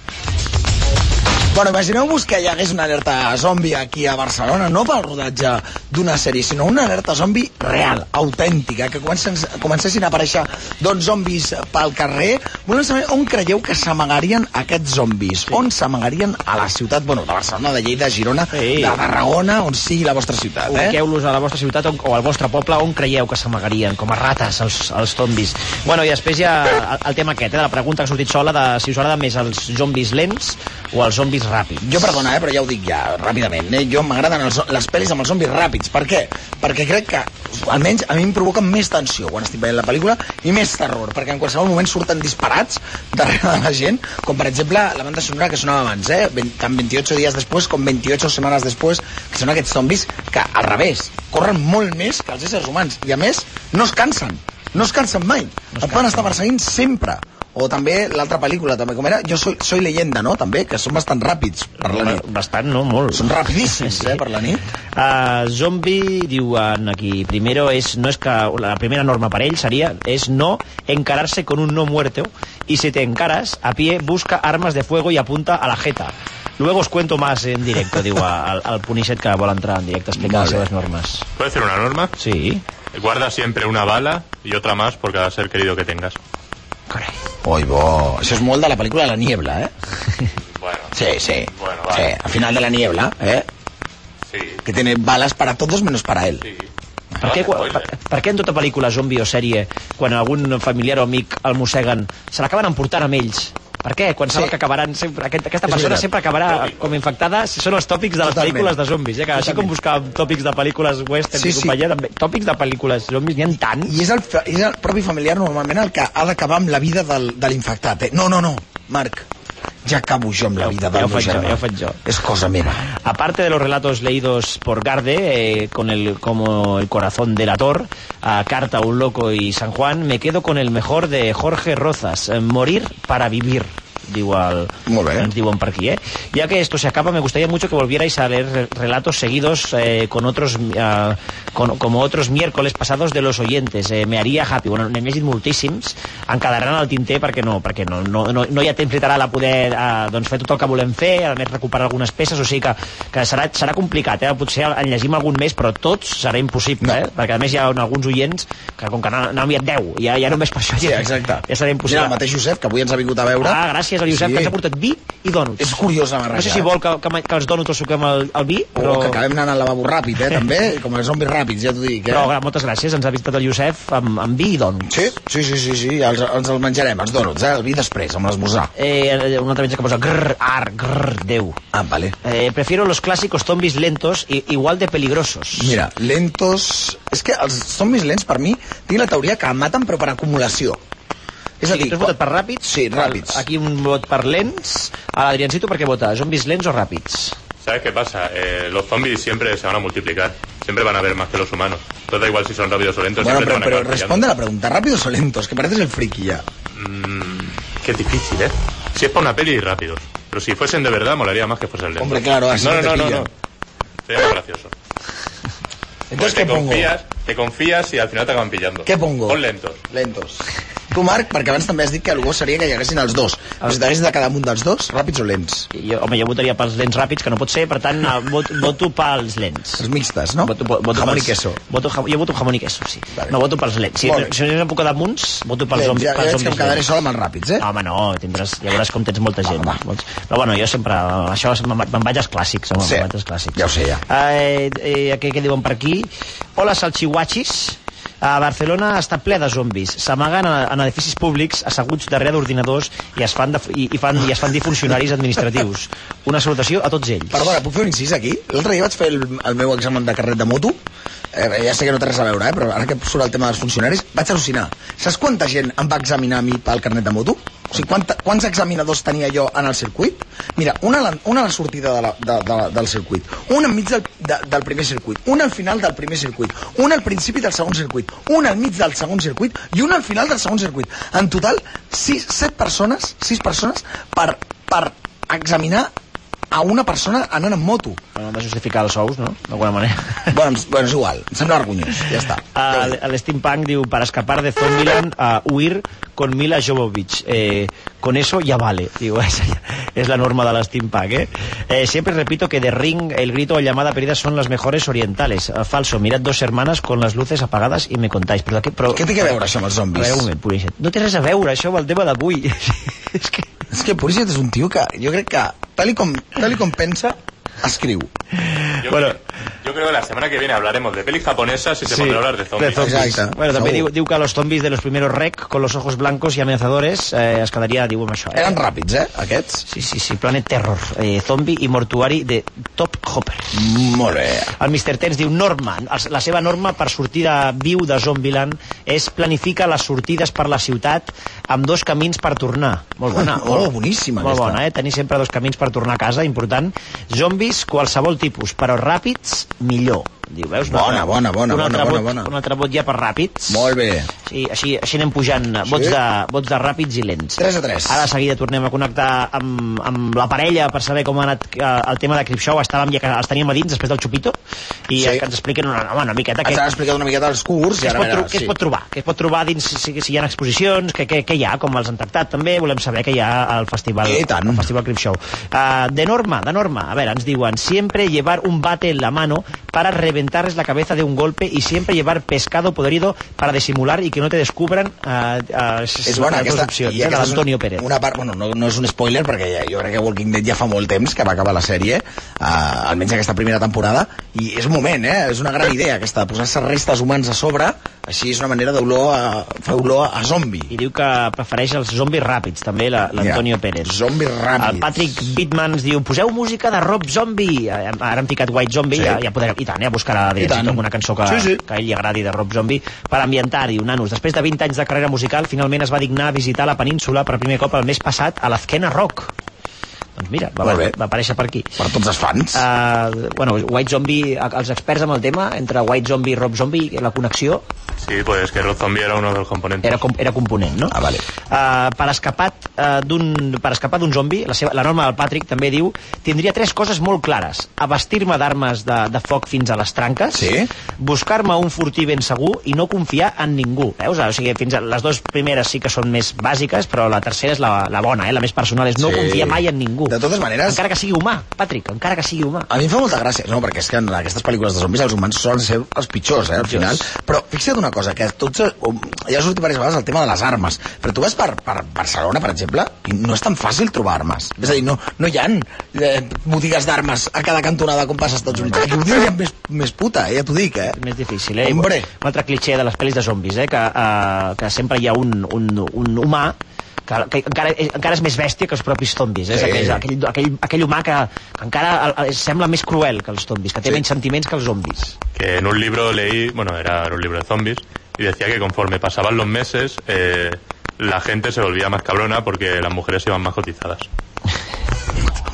Bueno, imagineu-vos que hi hagués una alerta zombi aquí a Barcelona, no pel rodatge d'una sèrie, sinó una alerta zombi real, autèntica, que comencen, comencessin a aparèixer doncs, zombis pel carrer. Volem saber on creieu que s'amagarien aquests zombis, sí. on s'amagarien a la ciutat, bueno, de Barcelona, de Lleida, Girona, sí. de Tarragona, on sigui la vostra ciutat. Eh? Ubiqueu-los a la vostra ciutat on, o al vostre poble on creieu que s'amagarien, com a rates, els, els zombis. Bueno, i després hi ha el, el tema aquest, eh, de la pregunta que ha sortit sola, de si us agrada més els zombis lents o els zombis ràpids. Jo, perdona, eh, però ja ho dic ja, ràpidament. Eh? Jo m'agraden els- les pel·lis amb els zombis ràpids. Per què? Perquè crec que, almenys, a mi em provoquen més tensió quan estic veient la pel·lícula i més terror, perquè en qualsevol moment surten disparats darrere de la gent, com per exemple la banda sonora que sonava abans, eh? Ben- tant 28 dies després com 28 setmanes després, que són aquests zombis que, al revés, corren molt més que els éssers humans. I, a més, no es cansen. No es cansen mai. No et poden estar perseguint sempre. O també l'altra pel·lícula, també com era, Jo soy, soy leyenda, no? També, que són bastant ràpids per la nit. Bastant, no? Molt. Són rapidíssims, eh, per la nit. Uh, zombi, diuen aquí, primero es, no es que, la primera norma para él sería, es no encararse con un no muerto, y si te encaras, a pie, busca armas de fuego y apunta a la jeta. Luego os cuento más en directo, digo, al, al Punishet que vol entrar en directo a explicar les Vale. seves normes. ¿Puedo decir una norma? Sí. Guarda siempre una bala y otra más por cada ser querido que tengas. Oi, bo. Això és molt de la pel·lícula La Niebla, eh? Bueno. Sí, sí. Bueno, Sí, vale. al final de La Niebla, eh? Sí. Que tiene balas para todos menos para él. Per què, quan- per, per què en tota pel·lícula zombi o sèrie, quan algun familiar o amic el mosseguen, se l'acaben emportant amb ells? Per què? Quan saben Sí. que acabaran sempre, aquest, aquesta És persona veritat. sempre acabarà com infectada, si són els tòpics de les Totalment. pel·lícules de zombis. Eh? Que així com buscàvem tòpics de pel·lícules western Sí, i sí. companyia, també, tòpics de pel·lícules zombis n'hi ha tant. I és el, fa- és el propi familiar normalment el que ha d'acabar amb la vida del, de l'infectat, eh? No, no, no, Marc. Ja acabo jo amb la vida del ja ho meu faig jo, germà. ja ho faig jo. És cosa meva. Aparte de los relatos leídos por Garde, eh, con el, como El corazón del ator, a Carta, un loco y San Juan, me quedo con el mejor de Jorge Rozas, eh, Morir para vivir. Digo al, ens diuen per aquí, eh? Ya que esto se acaba, me gustaría mucho que volvierais a leer re- relatos seguidos eh, con otros, eh, con- como otros miércoles pasados de los oyentes. Eh, me haría happy. Bueno, n'hem llegit moltíssims. En quedaran al tinter perquè no, perquè no, no, no, no hi ha temps literal a poder eh, doncs fer tot el que volem fer, a més recuperar algunes peces, o sigui que, que serà, serà complicat, eh? potser en llegim algun més, però tots serà impossible, eh? perquè a més hi ha alguns oients que com que n'ha- n'ha enviat 10, ja, ja només per això Sí, ja, exacte. ja serà impossible. Mira, el mateix Josep, que avui ens ha vingut a veure. Ah, gràcies al Josep, Sí. que ens ha portat vi i dònuts. És curiós la barreja, No sé si eh? vol que, que, ma- que els dònuts els suquem al, al vi, però... O que acabem anant al lavabo ràpid, eh, també, com els zombis ràpids, ja t'ho dic, eh? Però gra- moltes gràcies, ens ha visitat el Josep amb, amb vi doncs. i dònuts. Sí, sí, sí, sí, sí. Els, ens el menjarem, els dònuts, eh? El vi després, amb l'esmorzar. Eh, una otra mensaje que posa grrr, ar, grrr, Déu. Ah, vale. Eh, prefiero los clásicos zombies lentos i, igual de peligrosos. Mira, lentos... És que els zombis lents, per mi, tinc la teoria que maten però per acumulació. És a dir, tu has votat per ràpids? Sí, ràpids. Aquí un vot per lents. A l'Adriancito per què vota? Zombis lents o ràpids? ¿Sabes qué pasa? Eh, los zombies siempre se van a multiplicar. Siempre van a haber más que los humanos. Entonces da igual si son rápidos o lentos. Bueno, siempre pero, te van a pero acabar responde a la pregunta, ¿rápidos o lentos? Que pareces el friki ya. Mm, qué difícil, ¿eh? Si es para una peli, rápidos. Pero si fuesen de verdad, molaría más que fuesen lentos. Hombre, claro, así no, no te no, no, no, pillan. no. Sería más gracioso. Entonces, ¿qué te pongo? confías, te confías y al final te acaban pillando. ¿Qué pongo? Pon lentos. Lentos. Tu, Marc, perquè abans també has dit que el gos seria que hi haguessin els dos. Necessitaries de cada un dels dos, ràpids o lents? Jo, home, jo votaria pels lents ràpids, que no pot ser, per tant, eh, vot, voto pels lents. Els mixtes, no? Voto, voto Jamón pels, i queso. Voto, ja- jo voto jamón i queso, sí. eh, No, voto pels lents. Si, Molt bé. si no em puc quedar amb uns, voto pels Lents, zombis. ja- ja veig que em quedaré sol amb els ràpids, eh? Home, no, tindràs, ja veuràs com tens molta gent. Molts- Però bueno, jo sempre, eh, això és- me'n me'n vaig als clàssics, home, Sí. me'n vaig als clàssics. Ja ho sé, ja. Eh, eh, què, què diuen per aquí? Hola, salxihuachis. A Barcelona està ple de zombis. S'amaguen en, en edificis públics, asseguts darrere d'ordinadors i es fan, de, i, i, fan, i es fan dir funcionaris administratius. Una salutació a tots ells. Perdona, puc fer un incís aquí? L'altre dia vaig fer el, el meu examen de carret de moto, eh, ja sé que no té res a veure, eh, però ara que surt el tema dels funcionaris, vaig al·lucinar. Saps quanta gent em va examinar a mi pel carnet de moto? O sigui, quanta, quants examinadors tenia jo en el circuit? Mira, una, a la- una a la sortida de la, de, de la, del circuit, una enmig del, de, del primer circuit, una al final del primer circuit, una al principi del segon circuit, una al mig del segon circuit i una al final del segon circuit. En total, sis, set persones, sis persones per, per examinar a una persona anant amb moto. Bueno, hem de justificar els sous, no? D'alguna manera. Bueno, em- bueno, és igual. Em sembla vergonyós. Ja està. Uh, L'Steampunk diu, per escapar de Zombieland, a huir con Mila Jovovich. Eh, con eso ya vale. Digo, es, es la norma de la Steampunk, ¿eh? Eh, Siempre repito que The Ring, El Grito o Llamada Perdida son las mejores orientales. Ah, falso, mirad dos hermanas con las luces apagadas y me contáis. Però, de què, però, Què té a veure això amb els zombis? Veure, un moment, Purixet. No té res a veure això amb el tema d'avui. és que... És que Purixet és un tio que jo crec que, tal i com, tal i com pensa, escriu. Yo, creo, yo creo que la semana que viene hablaremos de pelis japonesas y se podrá hablar de zombies. Bueno, també diu, diu que los zombies de los primeros rec con los ojos blancos y amenazadores eh, es quedaria, diu, amb això. Eh? Eren ràpids, eh, aquests? Sí, sí, sí, Planet Terror, eh, zombi i mortuari de Top Hopper. Molt bé. El Mr. Tens diu, norma, els- la seva norma per sortir de viu de Zombieland és planifica les sortides per la ciutat amb dos camins per tornar. Molt bona. Oh, boníssima Molt aquesta. bona, eh? Tenir sempre dos camins per tornar a casa, important. Zombis, qualsevol tipus, però ràpids, millor. Diu, veus? Un Bona, altre- bona, bona, un bona, altre bona, vot- bona. Un altre vot ja per ràpids. Molt bé. Sí, així, així anem pujant eh, vots, de, vots de ràpids i lents. 3 a 3. Ara de seguida tornem a connectar amb, amb la parella per saber com ha anat eh, el tema de Cripshow. Estàvem ja que els teníem a dins després del xupito i Sí. sí. que ens expliquen una, home, una miqueta Ens han explicat una miqueta els curs i què es, ara pot, tro- veuràs, què sí. es pot trobar? Què es pot trobar dins, si, si hi ha exposicions, què, què, què hi ha, com els han tractat també, volem saber què hi ha al festival, I tant. al festival Crip Show. Uh, de norma, de norma, a veure, ens diuen, siempre llevar un bate en la mano para reventarles la cabeza de un golpe y siempre llevar pescado podrido para disimular y que no te descubran uh, uh, és bona aquesta, opcions, i eh, de aquesta és l'Antonio una- Pérez. Una part, bueno, no, no és un spoiler, perquè ja, jo crec que Walking Dead ja fa molt temps que va acabar la sèrie, eh, almenys aquesta primera temporada, i és un moment, eh? És una gran idea, aquesta, de posar-se restes humans a sobre, així és una manera d'olor a... fa olor a zombi. I diu que prefereix els zombis ràpids, també, la- l'Antonio Ja, ja. Pérez. zombis ràpids. El Patrick Bitman ens diu, poseu música de Rob Zombie. Eh, Ara hem ficat White Zombie, Sí. sí. ja, ja podrem, i tant, ja buscarà I tant. directament alguna cançó que, Sí, sí, sí. sí. que a ell li agradi de Rob Zombie per ambientar i un nanos. Després de 20 anys de carrera musical, finalment es va dignar a visitar la península per primer cop el mes passat a l'Azquena Rock. Doncs mira, va, Molt bé. va aparèixer per aquí. Per tots els fans. Uh, bueno, White Zombie, els experts amb el tema, entre White Zombie i Rob Zombie, la connexió, Sí, pues que Rob Zombie era uno de los componentes. era, com, era component, no? Ah, vale. Uh, per escapat uh, d'un per escapar d'un zombi, la, seva, la norma del Patrick també diu, tindria tres coses molt clares. Abastir-me d'armes de, de foc fins a les tranques, sí? buscar-me un fortí ben segur i no confiar en ningú. Veus? O sigui, fins a les dues primeres sí que són més bàsiques, però la tercera és la, la bona, eh? la més personal, és no Sí. sí. confiar mai en ningú. De totes maneres- Encara que sigui humà, Patrick, encara que sigui humà. A mi em fa molta gràcia, no, perquè és que en aquestes pel·lícules de zombis els humans solen ser els pitjors, eh, al final. Però fixa't una cosa, que tots, um, ja ha sortit diverses vegades el tema de les armes, però tu vas per, per Barcelona, per exemple, i no és tan fàcil trobar armes. És a dir, no, no hi ha eh, botigues d'armes a cada cantonada com passa als Estats Units. Aquí ho diria més, més puta, eh, ja t'ho dic, eh. més difícil, eh? Hombre. Un altre cliché de les pel·lis de zombis, eh? Que, eh, que sempre hi ha un, un, un humà que, que encara, és- encara és més bèstia que els propis zombis, eh? Sí. Sí. Aquell, aquell, aquell, aquell humà que, que encara el- el- sembla més cruel que els zombis, que té sí. menys sentiments que els zombis. que en un libro leí, bueno, era un libro de zombies, y decía que conforme pasaban los meses, eh, la gente se volvía más cabrona porque las mujeres iban más cotizadas.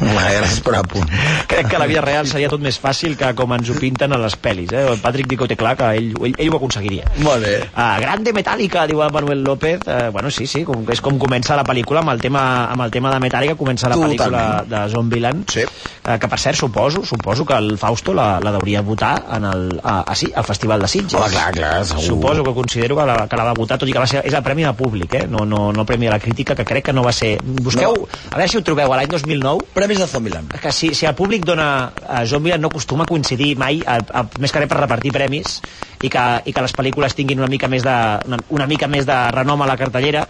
Gràcies per apunt. Crec que a la vida real seria tot més fàcil que com ens ho pinten a les pel·lis, eh? El Patrick Dico té clar que ell, ell, ell ho aconseguiria. Molt bé. Ah, grande Metallica, diu el Manuel López. Eh, bueno, sí, sí, com, és com comença la pel·lícula, amb el tema, amb el tema de Metallica comença la Totalment. pel·lícula de Zombieland. Sí. eh, que per cert suposo, suposo que el Fausto la, la deuria votar en el, a, a, sí, al Festival de Sitges. Home, clar, clar, segur. Suposo que considero que la, que la va votar, tot i que va ser, és el premi de públic, eh? no, no, no el premi de la crítica, que crec que no va ser... Busqueu, No. a veure si ho trobeu, a l'any 2009... Premis de Zombieland. Que si, si el públic dona... A Zombieland no acostuma a coincidir mai, a, a, més que res per repartir premis, i que, i que les pel·lícules tinguin una mica més de, una, una mica més de renom a la cartellera,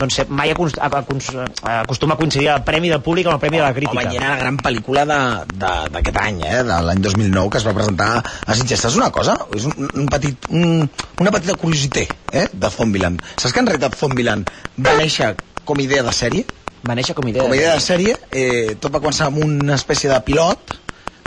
doncs eh, mai acons- a- acons- acostuma a coincidir el premi del públic amb el premi de la crítica. Home, i era la gran pel·lícula de- de- d'aquest any, eh? de l'any 2009, que es va presentar a Sitges. Saps una cosa? És un, un petit, un, una petita curiosité eh? de Zombieland. Saps que en realitat Zombieland va néixer com idea de sèrie? Va néixer com idea Com de a idea de sèrie, eh, tot va començar amb una espècie de pilot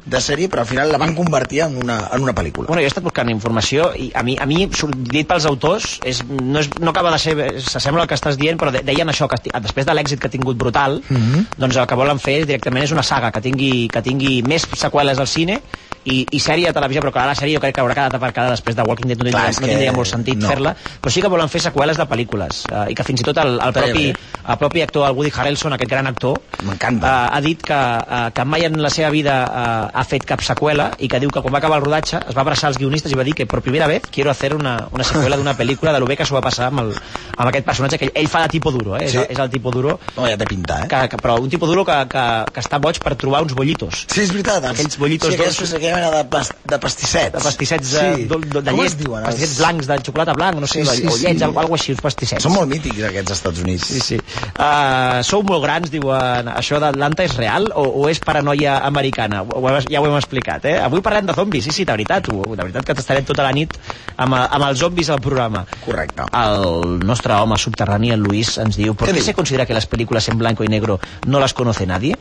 de sèrie, però al final la van convertir en una, en una pel·lícula. Bueno, jo he estat buscant informació i a mi, a mi surt- dit pels autors, és, no, és, no acaba de ser... S'assembla el que estàs dient, però de, deien això, que esti- després de l'èxit que ha tingut brutal, Mhm. doncs el que volen fer és directament és una saga que tingui, que tingui més seqüeles al cine i, i sèrie de televisió, però clar, la sèrie jo crec que haurà quedat aparcada després de Walking Dead, no tindria, Clar, és no tindria que molt sentit no. fer-la, però sí que volen fer seqüeles de pel·lícules eh, i que fins i tot el, el, Està propi, bé. el propi actor, el Woody Harrelson, aquest gran actor, M'encanta. eh, ha dit que, eh, que mai en la seva vida eh, ha fet cap seqüela i que diu que quan va acabar el rodatge es va abraçar als guionistes i va dir que per primera vez quiero hacer una, una seqüela d'una pel·lícula de lo bé que s'ho va passar amb, el, amb aquest personatge que ell, ell fa de tipo duro, eh? Sí. sí. és, és el tipo duro No, ja té pinta, eh? que, que, però un tipo duro que, que, que està boig per trobar uns bollitos Sí, és veritat. els- Aquells bollitos sí, dolços. dolços. Aquella mena de, pas, de pastissets. de pastissets de, sí. de, de, de Com es llet, diuen? els- pastissets blancs de xocolata blanc, no sé, Sí, sí, sí, sí, o llets, sí. sí. alguna així, uns pastissets. Són molt mítics aquests Estats Units. Sí, sí. Uh, sou molt grans, diuen. Això d'Atlanta és real o, o és paranoia americana? Ho, ho, ja ho hem explicat, eh? Avui parlem de zombis, sí, sí, de veritat. Ho, de veritat que t'estarem tota la nit amb, amb els zombis al programa. Correcte. El nostre home subterrani, el Luis, ens diu ¿Por Què qué diu? se considera que las películas en blanco y negro no las conoce nadie?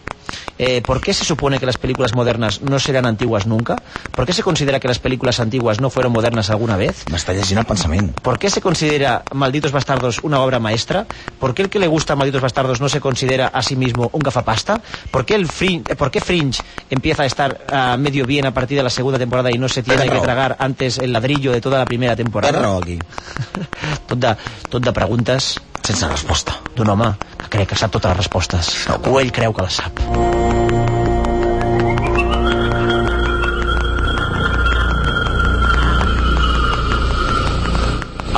Eh, ¿Por qué se supone que las películas modernas no serán antiguas nunca? ¿Por qué se considera que las películas antiguas no fueron modernas alguna vez? M'està llegint el pensament. ¿Por qué se considera Malditos Bastardos una obra maestra? ¿Por qué el que le gusta Malditos Bastardos no se considera a sí mismo un gafapasta? ¿Por qué, el Fringe, eh, por qué Fringe empieza a estar ah, medio bien a partir de la segunda temporada y no se tiene Perro. que tragar antes el ladrillo de toda la primera temporada? Té raó aquí. Tot de, tot de preguntes sense resposta d'un home que crec que sap totes les respostes. O ell creu que les sap.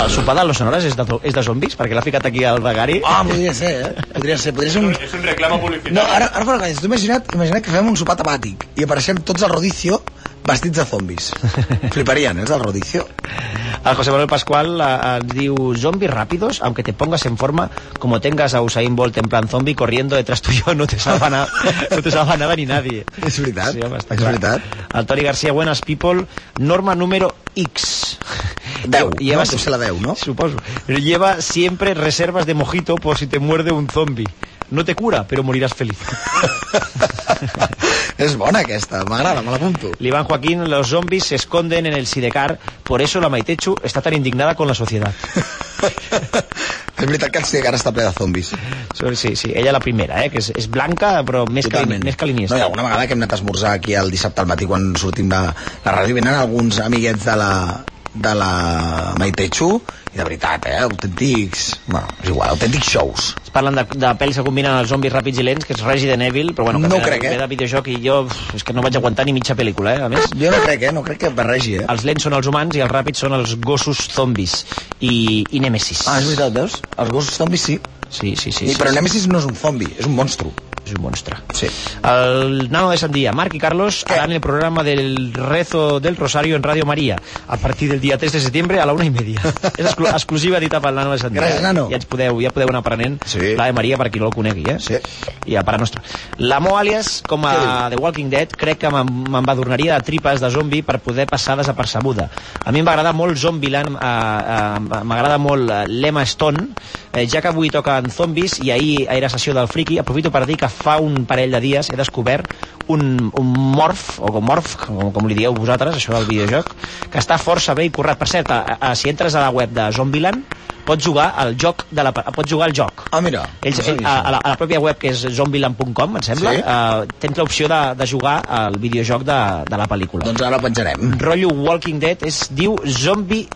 El sopar de los sonores és de, és de zombis? Perquè l'ha ficat aquí al Begari. Ah, podria ser, eh? Podria ser, podria ser un... Es un reclamo No, publicitario. ara, ara fora calles, tu imagina't, imagina't que fem un sopar tapàtic i apareixem tots al rodicio vestits de zombis. Fliparien, eh, els del rodicio. El José Manuel Pascual eh, ens diu Zombis rápidos, aunque te pongas en forma como tengas a Usain Bolt en plan zombie corriendo detrás tuyo, no te salva nada, no te salva nada ni nadie. És veritat, Sí, home, està és clar. veritat. El Toni García, buenas people, norma número X. 10, no? Deu ser la 10, no? Suposo. Pero lleva siempre reservas de mojito por si te muerde un zombi. No te cura, pero morirás feliz. És bona aquesta, m'agrada, me l'apunto. L'Iván Joaquín, los zombies se esconden en el Sidecar, por eso la Maitechu está tan indignada con la sociedad. és veritat que el Sidecar està ple de zombis. So, Sí, sí, ella la primera, eh, que és, és blanca, però més, calin, més calinista. No, hi ha alguna vegada que hem anat a esmorzar aquí el dissabte al matí quan sortim de la ràdio, venen alguns amiguets de la de la Maitechu i de veritat, eh, autèntics bueno, és igual, autèntics shows Es parlen de, de pel·lis que combinen els zombis ràpids i lents, que és Resident Evil, però bueno, que No ve de- crec, eh? ve de videojoc i jo pff, és que no vaig aguantar ni mitja pel·lícula, eh, a més. jo no crec, eh, no crec que barregi eh? Els lents són els humans i els ràpids són els gossos zombis i, i Nemesis. Ah, és veritat, veus? Els gossos zombis sí. Sí, sí, sí. sí, sí però sí. Nemesis no és un zombi, és un monstru. Es un monstruo. Sí. El Nano de Sandía, Marc y Carlos harán el programa del rezo del Rosario en Radio María a partir del día 3 de septiembre a la una y media. És exclu exclusiva dita pel Nano de Sandía. Gràcies, Nano. Ja, ens podeu, ja podeu anar aprenent Sí. la de Maria per qui no el conegui, eh? Sí. I a part nostra. La Mo Alias, com a The Walking Dead, crec que me'n me'n va adornaria de tripes de zombi per poder passar desapercebuda. A mi em va agradar molt Zombieland, eh, eh, m'agrada molt eh, l'Emma Stone, eh, ja que avui toquen zombis i ahir era sessió del friki, aprofito per dir que fa un parell de dies he descobert un, un morf, o com morf, com, com li dieu vosaltres, això del videojoc, que està força bé i currat. Per cert, a, a, si entres a la web de Zombieland, pots jugar al joc de la, pots jugar al joc Ah, mira. ells, eh, no sabia a, això. a, la, a la pròpia web que és zombieland.com em sembla, Sí. eh, tens l'opció de, de jugar al videojoc de, de la pel·lícula Doncs ara ho penjarem. rotllo Walking Dead es diu Zombie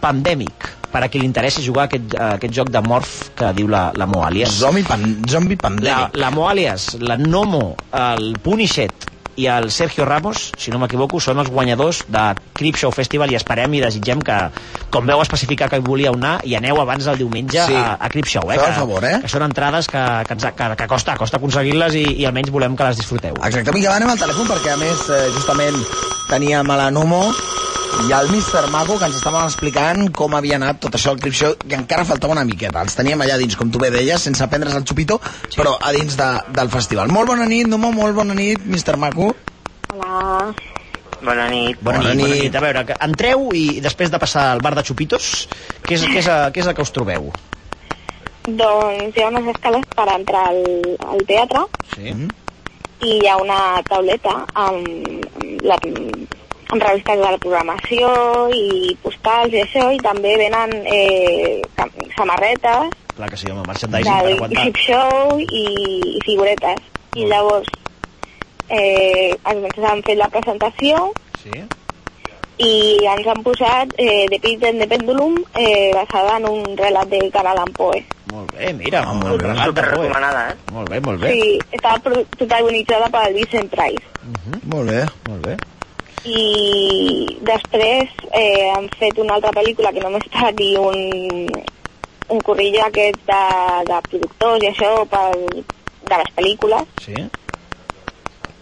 Pandemic per a qui li interessi jugar a aquest, a aquest joc de morf que diu la, la Mo Alias Zombi, pan, zombi la, pandèmic. la Mo Alias, la Nomo, el Punishet i el Sergio Ramos, si no m'equivoco, són els guanyadors de Crip Show Festival i esperem i desitgem que, com veu especificar que hi volíeu anar, i aneu abans del diumenge Sí. a, a Crip Show. Eh, Feu el que, favor, eh? que són entrades que, que, ens, que, que costa, costa aconseguir-les i, i almenys volem que les disfruteu. Exacte, Miquel, anem al telèfon perquè, a més, eh, justament teníem a la Numo i el Mr. Mago que ens estaven explicant com havia anat tot això al Crip Show i encara faltava una miqueta. Els teníem allà dins, com tu bé deies, sense prendre's el xupito, sí. però a dins de, del festival. Molt bona nit, Numo, molt bona nit, Mr. Mago. Hola. Bona nit. Bona, Bona bona, nit, bona nit. nit. A veure, que entreu i després de passar al bar de Chupitos, què és, què és, què és el que us trobeu? Doncs hi ha unes escales per entrar al, al teatre Sí. i hi ha una tauleta amb, la, amb revistes de la pues, programació i postals i això i també venen eh, cam- samarretes Clar que sí, home, merchandising per del aguantar. Hip Show i, i figuretes i llavors eh, ens han fet la presentació Sí. i ens han posat eh, The Pit and the Pendulum eh, basada en un relat de Carl Allan Poe Molt bé, mira, ah, molt bé. Superrecomanada, eh? Molt bé, molt bé. Sí, estaba pro- protagonitzada per Vincent Price. Molt bé. Mhm. Molt bé. I després eh, han fet una altra pel·lícula que només està aquí un, un corrillo aquest de, de productors i això per, de les pel·lícules. Sí.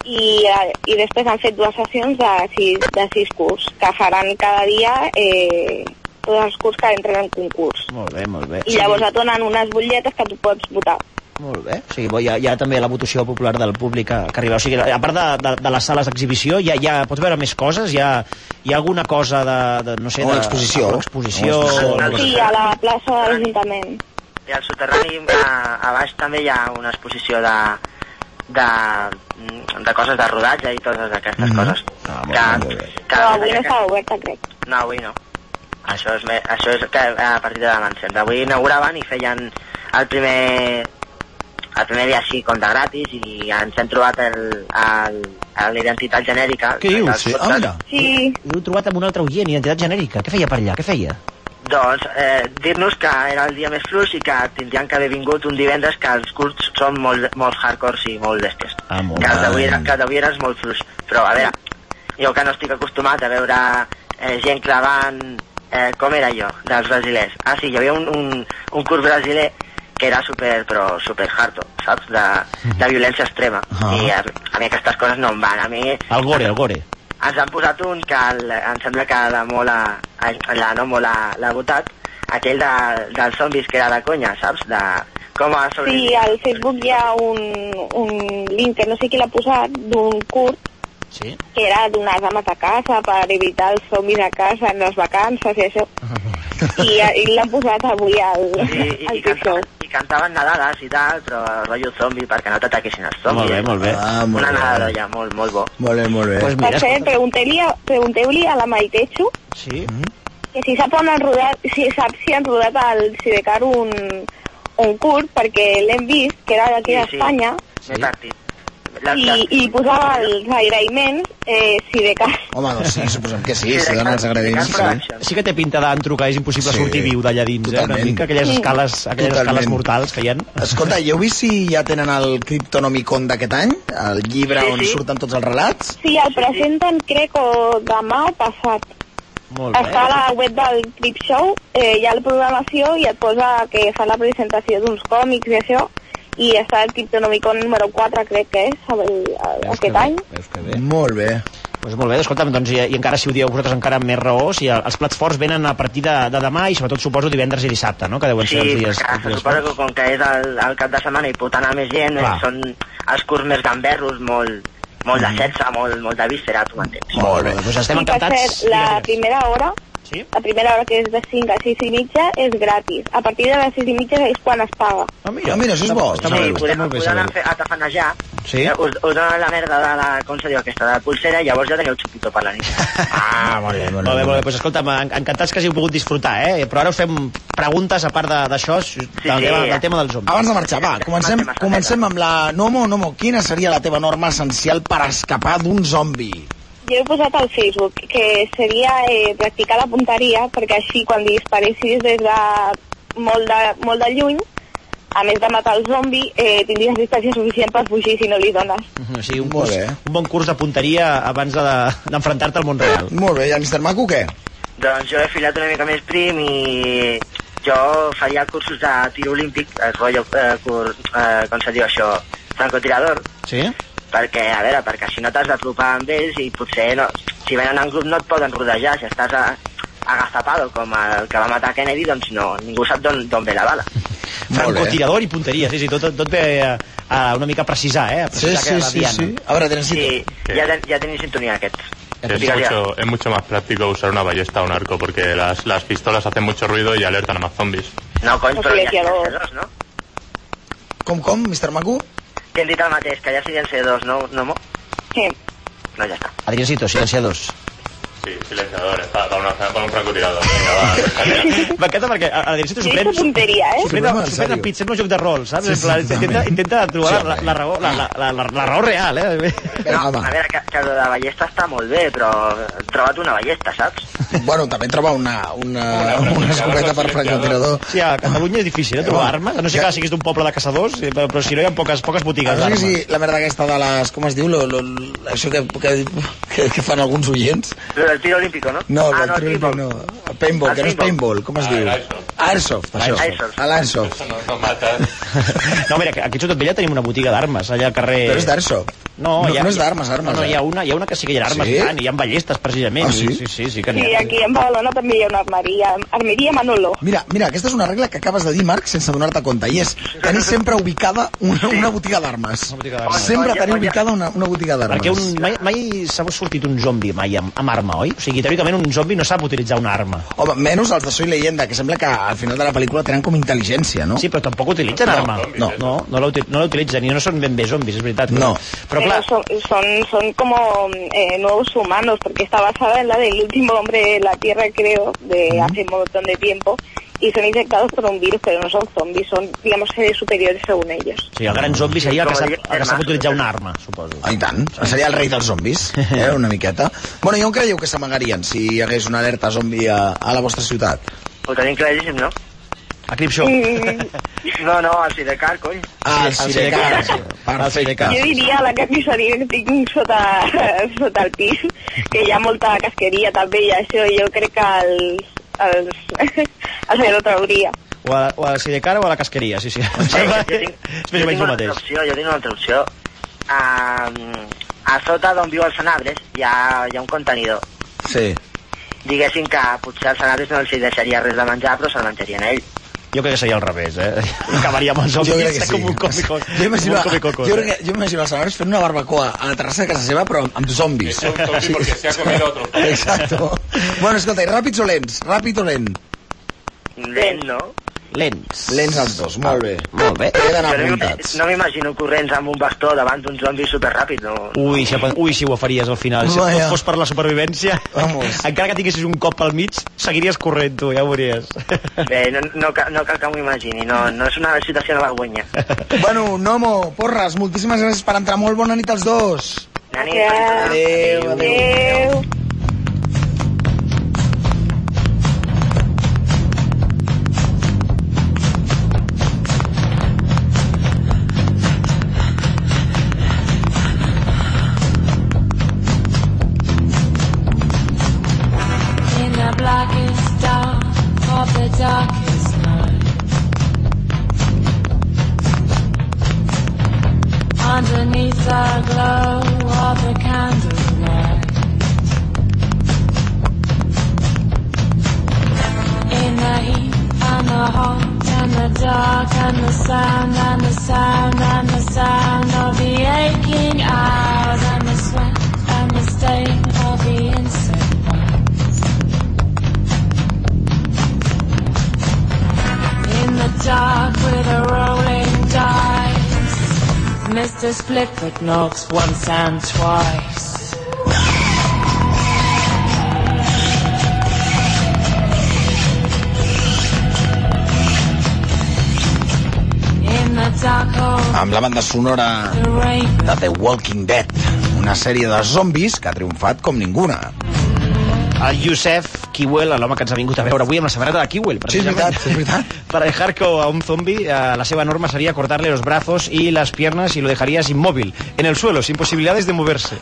I, eh, I després han fet dues sessions de sis, de sis curs, que faran cada dia eh, tots els curs que entren en concurs. Molt bé, molt bé. I llavors et donen unes butlletes que tu pots votar. Molt bé. O sigui, bo, hi, ha, hi ha també la votació popular del públic que, que arriba. O sigui, a part de, de, de les sales d'exhibició, hi, ha, hi ha, pots veure més coses? Hi ha, hi ha alguna cosa de, de no sé... Una de- exposició. Una exposició... alguna Una exposició. cosa. Sí, a la plaça de l'Ajuntament. I al soterrani a, a baix també hi ha una exposició de, de, mm, de coses de rodatge i totes aquestes mm -hmm. coses. que, que, Però avui no estava oberta, crec. No, avui no. Això és, me, això és que a partir de demà encert. Avui inauguraven i feien el primer el primer dia així com de gratis i ens hem trobat el- el- el- l'identitat genèrica. Què dius? Els- Sí. Ah, mira. Sí. L'heu trobat amb un altre oient, identitat genèrica. Què feia per allà? Què feia? Doncs eh, dir-nos que era el dia més fluix i que tindrien que haver vingut un divendres que els curts són molt, molt hardcores i molt d'estes. Ah, molt Que el d'avui bé. era, que el d'avui era molt fluix. Però a veure, jo que no estic acostumat a veure eh, gent clavant... Eh, com era jo, dels brasilers? Ah, sí, hi havia un, un, un curt brasiler que era super, però super harto, saps? De, de violència extrema. Mm. Ah. I a, a mi aquestes coses no em van. A mi El gore, el gore. ens han posat un que el, em sembla que la mola, la no mola l'ha votat, aquell de, dels zombis que era de conya, saps? De, com a sobre... Sí, al Facebook hi ha un, un link que no sé qui l'ha posat d'un curt Sí. que era d'unes dames a casa per evitar els zombis a casa en les vacances i això. I, eh, i l'han posat avui al, I, i, al i, canta, i cantaven nadades i tal, però rotllo zombi perquè no t'ataquessin els zombis. Molt bé, molt bé. Ah, molt Una bé. nadada ja, molt, molt bo. Molt bé, molt bé. Pues Per mira, cert, pregunteu-li a, pregunteu a la Maite Chu sí. Mm-hmm. que si sap on han rodat, si sap si han rodat al Sidecar un, un curt perquè l'hem vist, que era d'aquí d'Espanya, Sí. Partit. i, i posava els agraïments eh, si de cas. Home, doncs sí, suposem que sí, si donen els agrediments. Sí. Sí que té pinta d'antro que és impossible Sí. sí. sortir viu d'allà dins, eh? Totalment. Una mica aquelles Sí. escales, aquelles Totalment. escales mortals que hi ha. Escolta, ja heu vist si ja tenen el Cryptonomicon d'aquest any? El llibre Sí, on sí. surten tots els relats? Sí, el presenten crec o demà o passat. Molt bé. Està a la web del Trip Show, eh, hi ha la programació i et posa que fa la presentació d'uns còmics i això, i està el Cryptonomicon número 4, crec que és, el, el, aquest any. Molt bé. Doncs molt bé, escolta'm, doncs, i, i encara si ho dieu vosaltres encara amb més raó, si el- els plats forts venen a partir de, de demà i sobretot suposo divendres i dissabte, no? Que deuen Sí, ser els perquè dies... els se dies suposa forts. que com que és el, el cap de setmana i pot anar més gent, eh, Clar. són els curs més gamberros, molt, molt de sexe, molt, molt de víscera, tu m'entens. Molt bé. Doncs estem I per encantats. cert, la primera hora, Sí? la primera hora que és de 5 a 6 i mitja, és gratis. A partir de les 6 i mitja és quan es paga. Ah, Ah, mira, això és bo. Està, està Sí, molt bé, està podem, molt bé podem anar saber-ho. a tafanejar, Sí? eh, us, us donen la merda de la, com se diu aquesta, de la pulsera, i llavors ja teniu xupito per la nit. Ah, molt bé, molt Molt bé, bé. molt bé. Doncs escolta'm, en- encantats que hàgiu pogut disfrutar, eh? Però ara us fem preguntes a part de- d'això, de, del, sí. tema, del tema dels homes. Abans de marxar, va, comencem, comencem amb la Nomo. Nomo, quina seria la teva norma essencial per escapar d'un zombi? Jo he posat al Facebook que seria eh, practicar la punteria perquè així quan disparessis des de molt de, molt de lluny a més de matar el zombi, eh, tindries distància suficient per fugir si no li dones. O sigui, un, curs, un bon curs de punteria abans de- d'enfrontar-te al món real. Molt bé, i el Mr. Maco què? Doncs jo he filat una mica més prim i jo faria cursos de tir olímpic, el rotllo, eh, cur, eh, com se diu això, francotirador, Sí? perquè, a veure, perquè si no t'has d'apropar amb ells i potser no, si venen en grup no et poden rodejar, si estàs a, agazapado com el que va matar Kennedy, doncs no, ningú sap d'on d'on ve la bala. Francotirador i punteria, sí, sí, tot, tot ve a, a una mica a precisar, eh? A precisar que va bien, ¿no? Sí, ya, ten- ya tenéis sintonía, Ket. Es mucho, es mucho más práctico usar una ballesta o un arco porque las, las pistolas hacen mucho ruido y alertan a más zombies. No, cony, però ja hi ha dos, no? Com, com, Mr. Maco? T'hem dit el mateix, que ja siguin ser dos, no, no, mo? Sí. No, ja està. Adriancito, silenciados. Sí, silenciador, está para, una- para un francotirador. Venga, va. M'encanta perquè a- a Adriancito Sí, suplent... és una punteria, eh? Suplent, Problema, en suplent el serio. pitjor joc de rol, saps? Sí, Sí, sí, sí, intenta, totalment. intenta trobar Sí, la, la, raó, la, la, la, la, la raó real, eh? Ah, No, a veure, que, que lo de la ballesta està molt bé, però troba't una ballesta, saps? Bueno, també trobar una, una, una escopeta per francotirador. Sí, a Catalunya és difícil eh, trobar armes, a no sé que siguis d'un poble de caçadors, eh, però però si no hi ha poques, poques botigues Ara, d'armes. sí, la merda aquesta de les... Com es diu? Lo, lo, això que, que, que, que fan alguns oients? Lo del tiro olímpico, no? No, ah, ah, no, no, el paintball, no. El Paintball, El que no és paintball. paintball, com es Ah, diu? l'airsoft. Airsoft, això. L'airsoft. A L'airsoft. No, no matas. No, mira, que aquí a Xototvella tenim una botiga d'armes, allà al carrer... Però és d'airsoft. No, No, hi ha, no és d'armes, armes, No, no, eh? hi ha una, hi ha una que sí que hi ha armes, Sí? sí? tant, i hi ha ballestes, precisament. Ah, sí? Sí, sí, sí, que n'hi Sí, ha. aquí en Badalona també hi ha una armeria, armeria Manolo. Mira, mira, aquesta és una regla que acabes de dir, Marc, sense donar-te compte, i és tenir sempre ubicada una, una botiga d'armes. d'armes. Sempre Oye, tenir oye. ubicada una, una botiga d'armes. Perquè un, mai, mai s'ha sortit un zombi mai amb, amb arma, oi? O sigui, teòricament un zombi no sap utilitzar una arma. Home, menys els de Soy Leyenda, que sembla que al final de la pel·lícula tenen com intel·ligència, no? Sí, però tampoc utilitzen No, arma. no. no, no la uti- no la utilitzen i no són ben bé zombis, és veritat. No. Però clar, son, son, son como eh, nuevos humanos, porque está basada en la del último hombre de la Tierra, creo, de hace un montón de tiempo, y son infectados por un virus, pero no son zombies, son, digamos, seres superiores según ellos. o sigui, el gran zombi seria el que Com sap, diria el que sap Germà. utilitzar una arma, suposo. Ah, I tant. Seria el rei dels zombis, eh, una miqueta. Bueno, i on creieu que s'amagarien si hi hagués una alerta zombi a, a la vostra ciutat? Ho tenim claríssim, no? A Cripshow. Mm. No, no, al Sidecar, cony. Ah, el Sidecar. El Eh, Sidecar. Jo diria a la carnisseria que tinc sota, sota el pis, que hi ha molta casqueria també i això jo crec que els, els, els aerotrauria. O a, o a Sidecar o a la casqueria, sí, sí. Em Eh, sembla que és més o menys el una altra mateix. opció, jo tinc una altra opció. A, a sota d'on viu els sanabres hi ha, hi ha un contenidor. Sí. Diguéssim que potser als sanabres no els hi deixaria res de menjar, però se'l menjarien a ell. Jo crec que seria al revés, eh? Acabaria amb els Jo zombis crec que sí. com un còmico. Jo imagino, com un còmico. jo, crec que, jo imagino els salaris fent una barbacoa a la terrassa de casa seva, però amb zombis. Es un zombie porque se ha comido otro. Exacto. Bueno, escolta, i ràpids o lents? Ràpid o lent? Lent, no? Lents. Ah, Lents els dos, molt bé. Molt bé. He d'anar Però apuntats. No m'imagino corrents amb un bastó davant d'un zombi superràpid, no? Ui, si, ui, si ho faries al final. Si Vaja. no fos per la supervivència, Vamos. encara que tinguessis un cop al mig, seguiries corrent tu, ja ho veuries. Bé, no, no, cal, no cal que m'ho imagini, no, no és una situació de vergonya. Bueno, Nomo, Porres, moltíssimes gràcies per entrar. Molt bona nit als dos. Nani, Adéu, adéu. In the blackest dark of the darkest night. Underneath the glow of the candlelight. In the heat and the hot and the dark and the sound and the sound and the sound of the aching hours and the sweat and the stain of the insect. in the dark with a rolling dice. Mr. Splitfoot knocks once and twice. In the dark of amb la banda sonora the rain. de The Walking Dead, una sèrie de zombis que ha triomfat com ninguna. El Youssef Kiwell, l'home que ens ha vingut a veure avui amb la samarreta de Kiwell. Sí, és veritat, és veritat. Per dejar a un zombi, eh, la seva norma sería cortarle los brazos y las piernas y lo dejarías inmóvil, en el suelo, sin posibilidades de moverse.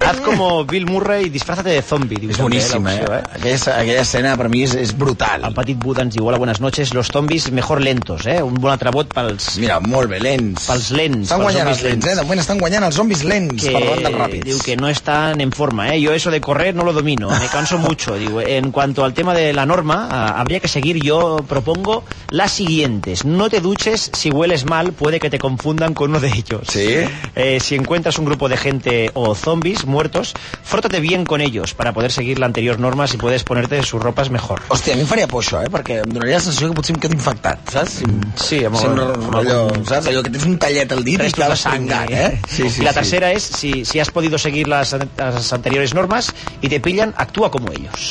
Haz como Bill Murray y disfrázate de zombi. És boníssima, eh? Aquella, aquella escena per mi és, és brutal. El petit Buda ens diu, hola, buenas noches, los zombis mejor lentos, eh? Un bon atrevot pels... Mira, molt bé, lents. Pels lents. pels Estan guanyant zombis els lents, eh? De moment estan guanyant els zombis lents que per rondes ràpids. digo que no están en forma, ¿eh? yo eso de correr no lo domino, me canso mucho. Digo, en cuanto al tema de la norma, ah, habría que seguir, yo propongo las siguientes. No te duches si hueles mal, puede que te confundan con uno de ellos. Eh, si encuentras un grupo de gente o zombies muertos, frótate bien con ellos para poder seguir la anterior norma si puedes ponerte sus ropas mejor. Hòstia, a mi em faria por això, eh? Perquè em donaria la sensació que potser em quedo infectat, saps? Si, sí, amb, si no, allò, saps? Allò que tens un tallet al dit i Restos estava de sang, sangrat, eh? eh? Sí, sí, y la sí. tercera es, si, si has podido seguir las, las anteriores normas y te pillan, actúa como ellos.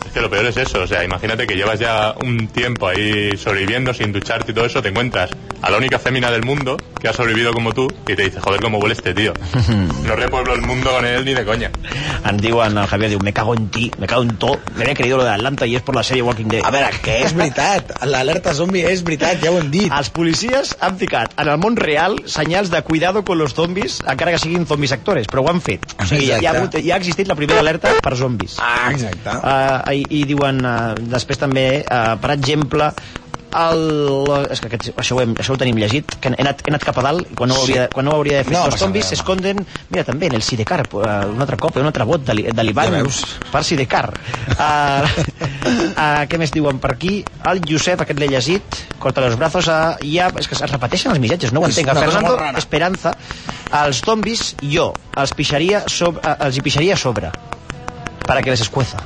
Es que lo peor es eso, o sea, imagínate que llevas ya un tiempo ahí sobreviviendo sin ducharte y todo eso, te encuentras a la única fémina del mundo que ha sobrevivido como tú y te dice, joder, cómo huele este tío. No repueblo el mundo con él ni de coña. Antigua en el Javier diu, me cago en ti, me cago en todo, me había creído lo de Atlanta y es por la serie Walking Dead. A veure, que és veritat, l'alerta zombi és veritat, ja ho hem dit. Els policies han ficat en el món real senyals de cuidado con los zombis, encara que siguin zombis actors, però ho han fet. O sigui, ja, ja, ha, hagut- ja ha existit la primera alerta per zombis. Ah, exacte. Uh, i, I diuen, uh, després també, uh, per exemple, el, és que aquest, això, ho hem, això ho tenim llegit que he anat, he anat cap a dalt i quan no ho Sí. hauria, quan no ho hauria de fer No no, els passa zombis res, s'esconden mira també en el Sidecar eh, un altre cop un altre vot de, li- de l'Ivan Ja veus. per Sidecar uh, uh, què més diuen per aquí el Josep aquest l'he llegit corta los brazos a, ja, és que es repeteixen els mitjatges no ho És entenc una el cosa Fernando molt rara. Esperanza els zombis jo els pixaria sobre, eh, els hi pixaria a sobre para que les escueza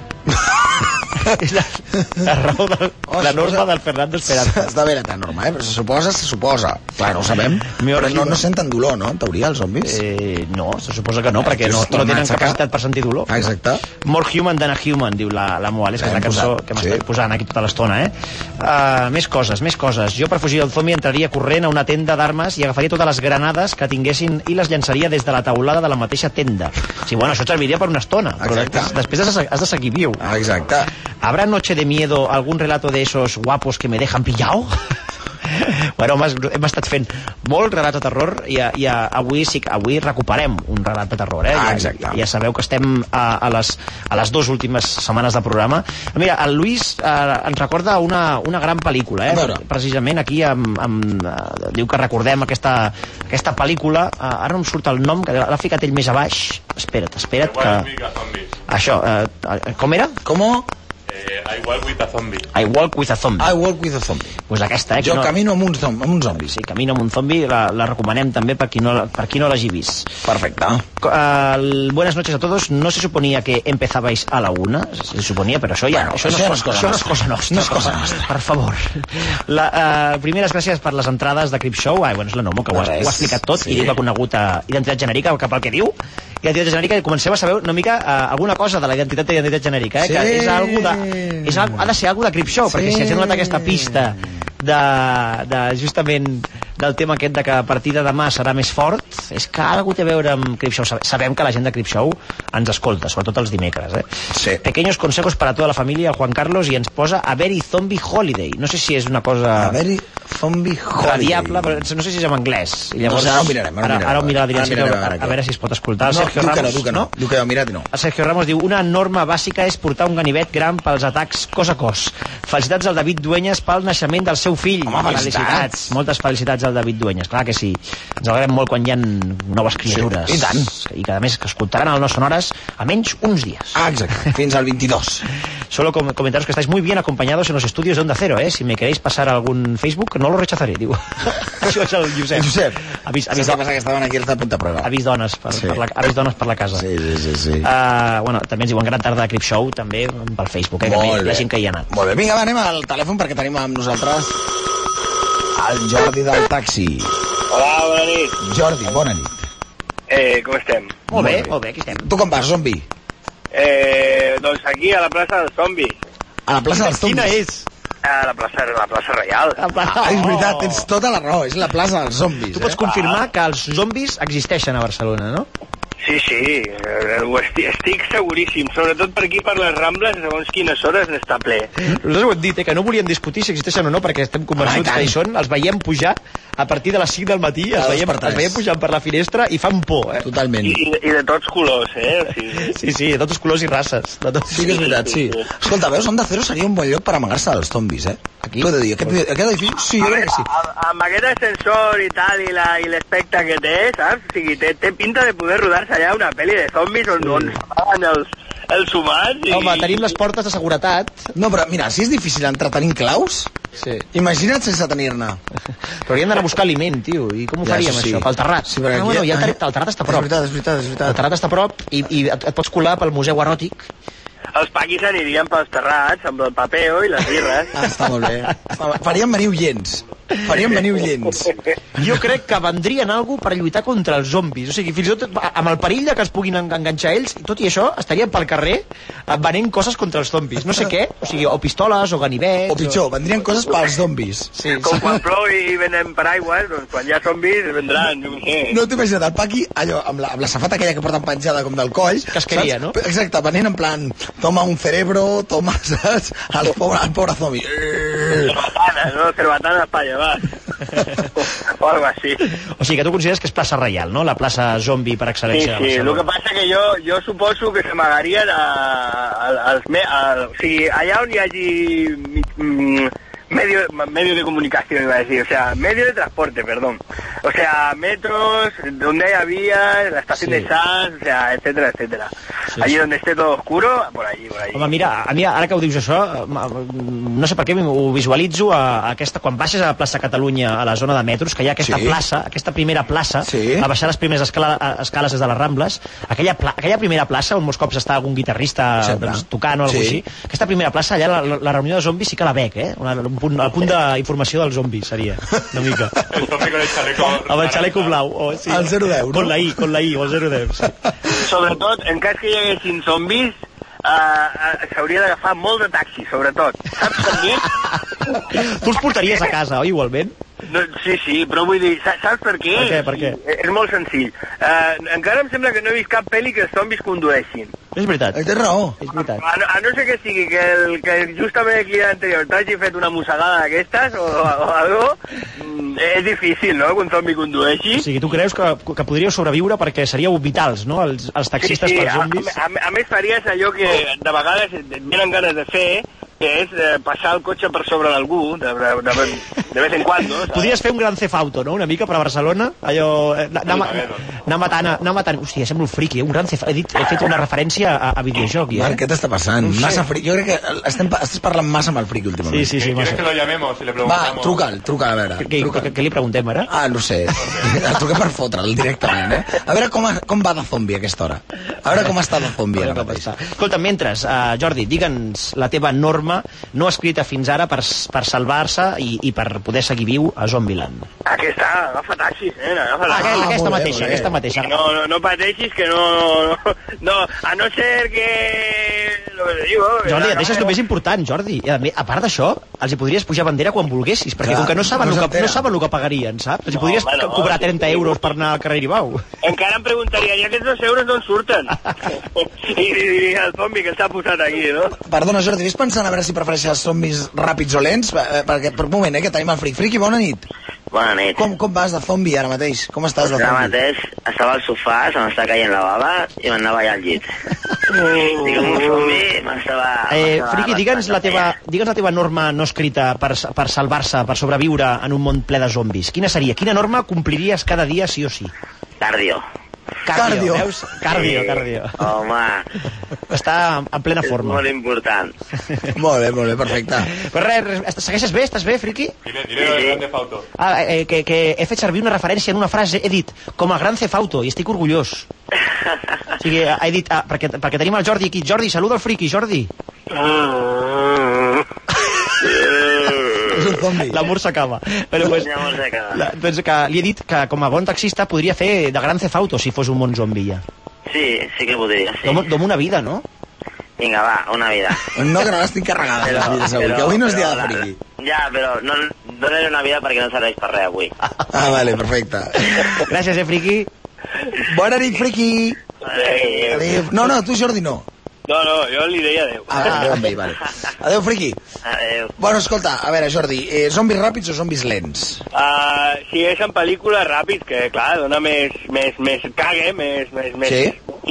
és la, la raó de, la norma del Fernando Esperanza Està bé la teva norma, eh? Però se suposa, se suposa. Clar, no ho sabem. Però no, no senten dolor, no, en teoria, els zombis? Eh, no, se suposa que no, Ah, perquè no, no tenen capacitat per sentir dolor. Exacte. More human than a human, diu la, la Moales, que és la L'hem cançó posat, que m'estàs posant aquí tota l'estona, eh? Uh, més coses, més coses. Jo per fugir del zombi entraria corrent a una tenda d'armes i agafaria totes les granades que tinguessin i les llançaria des de la taulada de la mateixa tenda. Sí, bueno, això et serviria per una estona, però després, després has, de- has de seguir viu. Exacte. ¿Habrá Noche de Miedo algún relato de esos guapos que me dejan pillado? Bueno, hem, hem estat fent molt relat de terror i, a, i a, avui, sí, que- avui recuperem un relat de terror, eh? Ah, ja, ja sabeu que estem a, a, les, a les dues últimes setmanes de programa. Mira, el Luis eh, ens recorda una, una gran pel·lícula, A eh? veure. precisament aquí amb, amb, eh, diu que recordem aquesta, aquesta pel·lícula, eh, ara no em surt el nom, que l'ha ficat ell més a baix. Espera't, espera't, que... Això, eh, com era? Com? Eh, I walk with a zombie. I walk with a zombie. I walk with a zombie. Pues aquesta, eh? que Jo camino amb un, zom, amb un zombi. Sí, Camino amb un zombi, la, la recomanem també per qui no, la- per qui no l'hagi vist. Perfecte. Co- eh, el- buenas noches a todos. No se suponía que empezabais a la una, se suponía, pero eso ya... Bueno, això, no això és, no és cosa, cosa això no és nostra. cosa nostra. No és cosa nostra. Per favor. La, eh, primeres gràcies per les entrades de Crip Show. Ai, bueno, és la Nomo, que ho, ha- Res. ho ha explicat tot Sí. i diu que ha conegut eh, identitat genèrica cap al que diu. Identitat genèrica, i comencem a saber una mica eh, alguna cosa de la identitat i identitat genèrica, eh? que Sí. és algo de, és, al- ha de ser algo de Crip Show, perquè si ens ha donat aquesta pista de, de justament del tema aquest de que a partir de demà serà més fort, és que algú té a veure amb Crip Show. Sabe- Sabem que la gent de Crip Show ens escolta, sobretot els dimecres. Eh? Sí. Pequeños consejos para toda la familia, el Juan Carlos, i ens posa a Very Zombie Holiday. No sé si és una cosa... A veure, zombie holiday. Radiable, però no sé si és en anglès. I llavors, No sé, Doncs ara ho mirarem, ara ho Ara, mirarem. ara ho mirarà, diré, Ara a, mirarem, veure- ara a què. veure si es pot escoltar. El No, Sergio diu que no, Ramos, diu que no, diu que no, mirat i no. El Sergio Ramos diu una norma bàsica és portar un ganivet gran pels atacs cos a cos. Felicitats al David Dueñas pel naixement del seu fill. Home, felicitats. Moltes felicitats al David Dueñas. Clar que sí. Ens alegrem molt quan hi ha noves criatures. i tant. I que, a més, que escoltaran el No Sonores almenys uns dies. Ah, exacte. Fins al 22. Solo com- comentaros que estáis muy bien acompañados en los estudios de Onda Cero, ¿eh? Si me queréis pasar algún Facebook, no lo rechazaré, digo. Això és el Josep. Josep, Ha vist, ha saps vist, què passa? Que estaven aquí els de punta prova. ha vist dones per, Sí. per la, ha vist dones per la casa. Sí, sí, sí. sí. Uh, bueno, també ens diuen gran tarda de Crip Show, també pel Facebook, eh? Que Molt també hi bé. ha gent que hi ha anat. Molt bé, vinga, va, anem al telèfon perquè tenim amb nosaltres el Jordi del taxi. Hola, bona nit. Jordi, bona nit. Eh, com estem? Molt bé, molt bé, aquí estem. Tu com vas, zombi? Eh, doncs aquí, a la plaça del zombi. A la plaça dels zombis. Quina és? A la plaça, la plaça Reial. La plaça... Ah, és veritat, tens tota la raó, és la plaça dels zombis. Tu pots eh? Ah. confirmar que els zombis existeixen a Barcelona, no? Sí, sí, eh, ho estic, estic seguríssim, sobretot per aquí, per les Rambles, segons quines hores n'està ple. Nosaltres ho hem dit, eh, que no volíem discutir si existeixen o no, perquè estem Home, i Ah, convençuts tant. que hi són, els veiem pujar a partir de les 5 del matí, els Cada dos veiem, per tres. els veiem pujant per la finestra i fan por, eh? Totalment. I, i, de- I de tots colors, eh? O sigui, Sí, sí, de tots colors i races. De tots... Sí que és veritat, sí. Escolta, veus, Onda Cero seria un bon lloc per amagar-se dels zombis, eh? Aquí? T'ho he de dir, aquest, aquest edifici, sí, jo crec que Ah, sí. a- amb aquest ascensor i tal, i la- i l'aspecte que té, saps? O sigui, té, té pinta de poder rodar-se allà una pel·li de zombis on, on s'amaguen els, els humans. I... Home, tenim les portes de seguretat. No, però mira, si és difícil entrar tenint claus, sí. imagina't sense tenir-ne. Però hauríem d'anar a buscar aliment, tio. I com ho Ja, faríem, això sí. això? Pel terrat? Sí, perquè ah, bueno, aquí- ja el ter- el terrat està a prop. És veritat, és veritat, és veritat. El terrat està a prop i, i et, et pots colar pel Museu Eròtic. Els paquis anirien pels terrats amb el papeo i les birres. Ah, està molt bé. Faríem venir oients. Faríem venir oients. Jo crec que vendrien algú per lluitar contra els zombis. O sigui, fins i tot a- amb el perill de que es puguin en- enganxar ells, i tot i això, estarien pel carrer eh, venent coses contra els zombis. No sé què, o sigui, o pistoles, o ganivets... O pitjor, vendrien coses pels zombis. Sí, Com quan plou i venen paraigües, doncs quan hi ha zombis vendran, no sé. No t'ho imagina't, el Paqui, allò, amb la, amb la safata aquella que porten penjada com del coll... Casqueria, saps? no? Exacte, venent en plan, toma un cerebro, toma, saps? El pobre, el pobre zombi. Cerbatanes, no? Cerbatanes pa llevar. o algo així. O sigui, que tu consideres que és plaça reial, no? La plaça zombi per Sí, excel·lència. sí, el que passa que jo, jo suposo que s'amagarien a, a, als me, a, o sigui, allà on hi hagi mm, medio, medio de comunicación, iba a decir, o sea, medio de transporte, perdón. O sea, metros, donde haya vías, la estación de Sanz, o sea, etcétera, etcétera. allí donde esté todo oscuro, por allí, por allí. Home, mira, a mi ara que ho dius això, m- m- no sé per què ho visualitzo a, a aquesta, quan baixes a la plaça Catalunya, a la zona de metros, que hi ha aquesta Sí. plaça, aquesta primera plaça, sí. a baixar les primeres escala, a- escales des de les Rambles, aquella, pla, aquella primera plaça on molts cops està algun guitarrista Sempre. doncs, tocant o alguna Sí. així, aquesta primera plaça, allà la, la, la reunió de zombis sí que la veig, eh? Una, un punt, el punt d'informació del zombi seria, una mica. El zombi con el chaleco. Amb el xaleco blau. O, sí. El 010, no? Con la I, con la I, o el 010. Sí. Sobretot, en cas que hi haguessin zombis, eh, eh, s'hauria d'agafar molt de taxi, sobretot. Saps per què? Tu els portaries a casa, oi, igualment? No, sí, sí, però vull dir, sa- saps per què? Per què, per què? És molt senzill. Eh, encara em sembla que no he vist cap pel·li que els zombis condueixin. És veritat. Té raó. És veritat. A no, a no ser que sigui que, el, que justament aquí anterior t'hagi fet una mossegada d'aquestes o, o algo, mm, és difícil, no?, que un zombi condueixi. O sigui, tu creus que, que podríeu sobreviure perquè seríeu vitals, no?, els, els taxistes sí, sí, per zombis? A, a, a més faries allò que de vegades et et venen ganes de fer, que és eh, passar el cotxe per sobre d'algú, de, de, de, de vez en cuando. saps? Podries fer un gran cefauto, no?, una mica per a Barcelona, allò... eh, Anar, anar, anar matant, anar matant... Hòstia, semblo un friqui, eh? un gran cefauto. He, dit, he fet una referència a, a videojoc, ja. eh? Marc, què t'està passant? No ho sé. Massa fric. Jo crec que estem, pa- estàs parlant massa amb el fric últimament. Sí, sí, sí, ¿Quieres massa. Eh, que lo llamemos y le Va, preguntamos? truca'l, truca'l, a veure. Què, truca'l. què, què li preguntem ara? Ah, no ho sé. El truquem per fotre'l directament, eh? A veure com, com va de zombi a aquesta hora. A veure com està de zombi ara mateix. Escolta, mentre, uh, Jordi, digue'ns la teva norma no escrita fins ara per, per salvar-se i, i per poder seguir viu a Zombieland. Aquesta, agafa taxis, nena, agafa taxis. Ah, aquesta molt bé, mateixa, molt bé. aquesta mateixa. No, no, no pateixis que no, no, no, a no ser que... Lo que te digo... Jordi, et la- deixes el més important, Jordi. I a, mi- a part d'això, els hi podries pujar bandera quan volguessis, perquè Clar, com que no saben, no el, que, s'entera. no saben el que pagarien, saps? Els hi No, podries bueno, co- cobrar sí, 30 sí. euros per anar al carrer Ibau. Encara em preguntaria, i aquests dos euros d'on surten? I li diria al zombi que s'ha posat aquí, no? Perdona, Jordi, vés pensant a veure si prefereixes els zombis ràpids o lents? Eh, Perquè, per un moment, eh, que tenim el fric. Friki, bona nit. Bona nit. Com, com vas de zombi ara mateix? Com estàs de Ara zombi? mateix estava al sofà, se m'estava caient la bava i m'anava allà al llit. Oh. I com un zombi m'estava... Eh, m'estava Friki, digue'ns la, teva, digue'ns la teva norma no escrita per, s- per salvar-se, per sobreviure en un món ple de zombis. Quina seria? Quina norma compliries cada dia sí o sí? Cardio. Cardio. Veus? Cardio, Sí. cardio. Home, Està en plena és forma. molt important. Molt bé, molt bé, perfecte. Però res, res, est- segueixes bé? Estàs bé, Friki? Dile, dile lo del grande fauto. Ah, eh, que, que he fet servir una referència en una frase, he dit, com a gran cefauto, i estic orgullós. O sigui, he dit, ah, perquè, perquè tenim el Jordi aquí. Jordi, saluda el friki, Jordi. L'amor s'acaba. Però, pues, L'amor s'acaba. la, doncs que li he dit que com a bon taxista podria fer de gran cefauto si fos un món zombi ja. Sí, sí que podria, sí. Dom, dom una vida, no? Vinga, va, una vida. No, que no l'estic carregada, la vida, segur, que avui no és dia de friki. Ja, però no, no donaré una vida perquè no serveix per res avui. Ah, vale, perfecte. Gràcies, eh, friki. Bona nit, friki. Adéu. No, no, tu Jordi no. No, no, jo li deia adeu. Ah, adéu amb ell, vale. Adéu, friqui. Adeu. Bueno, escolta, a veure, Jordi, eh, zombis ràpids o zombis lents? Uh, si és en pel·lícula ràpid, que clar, dona més, més, més cague, més, més, més Sí.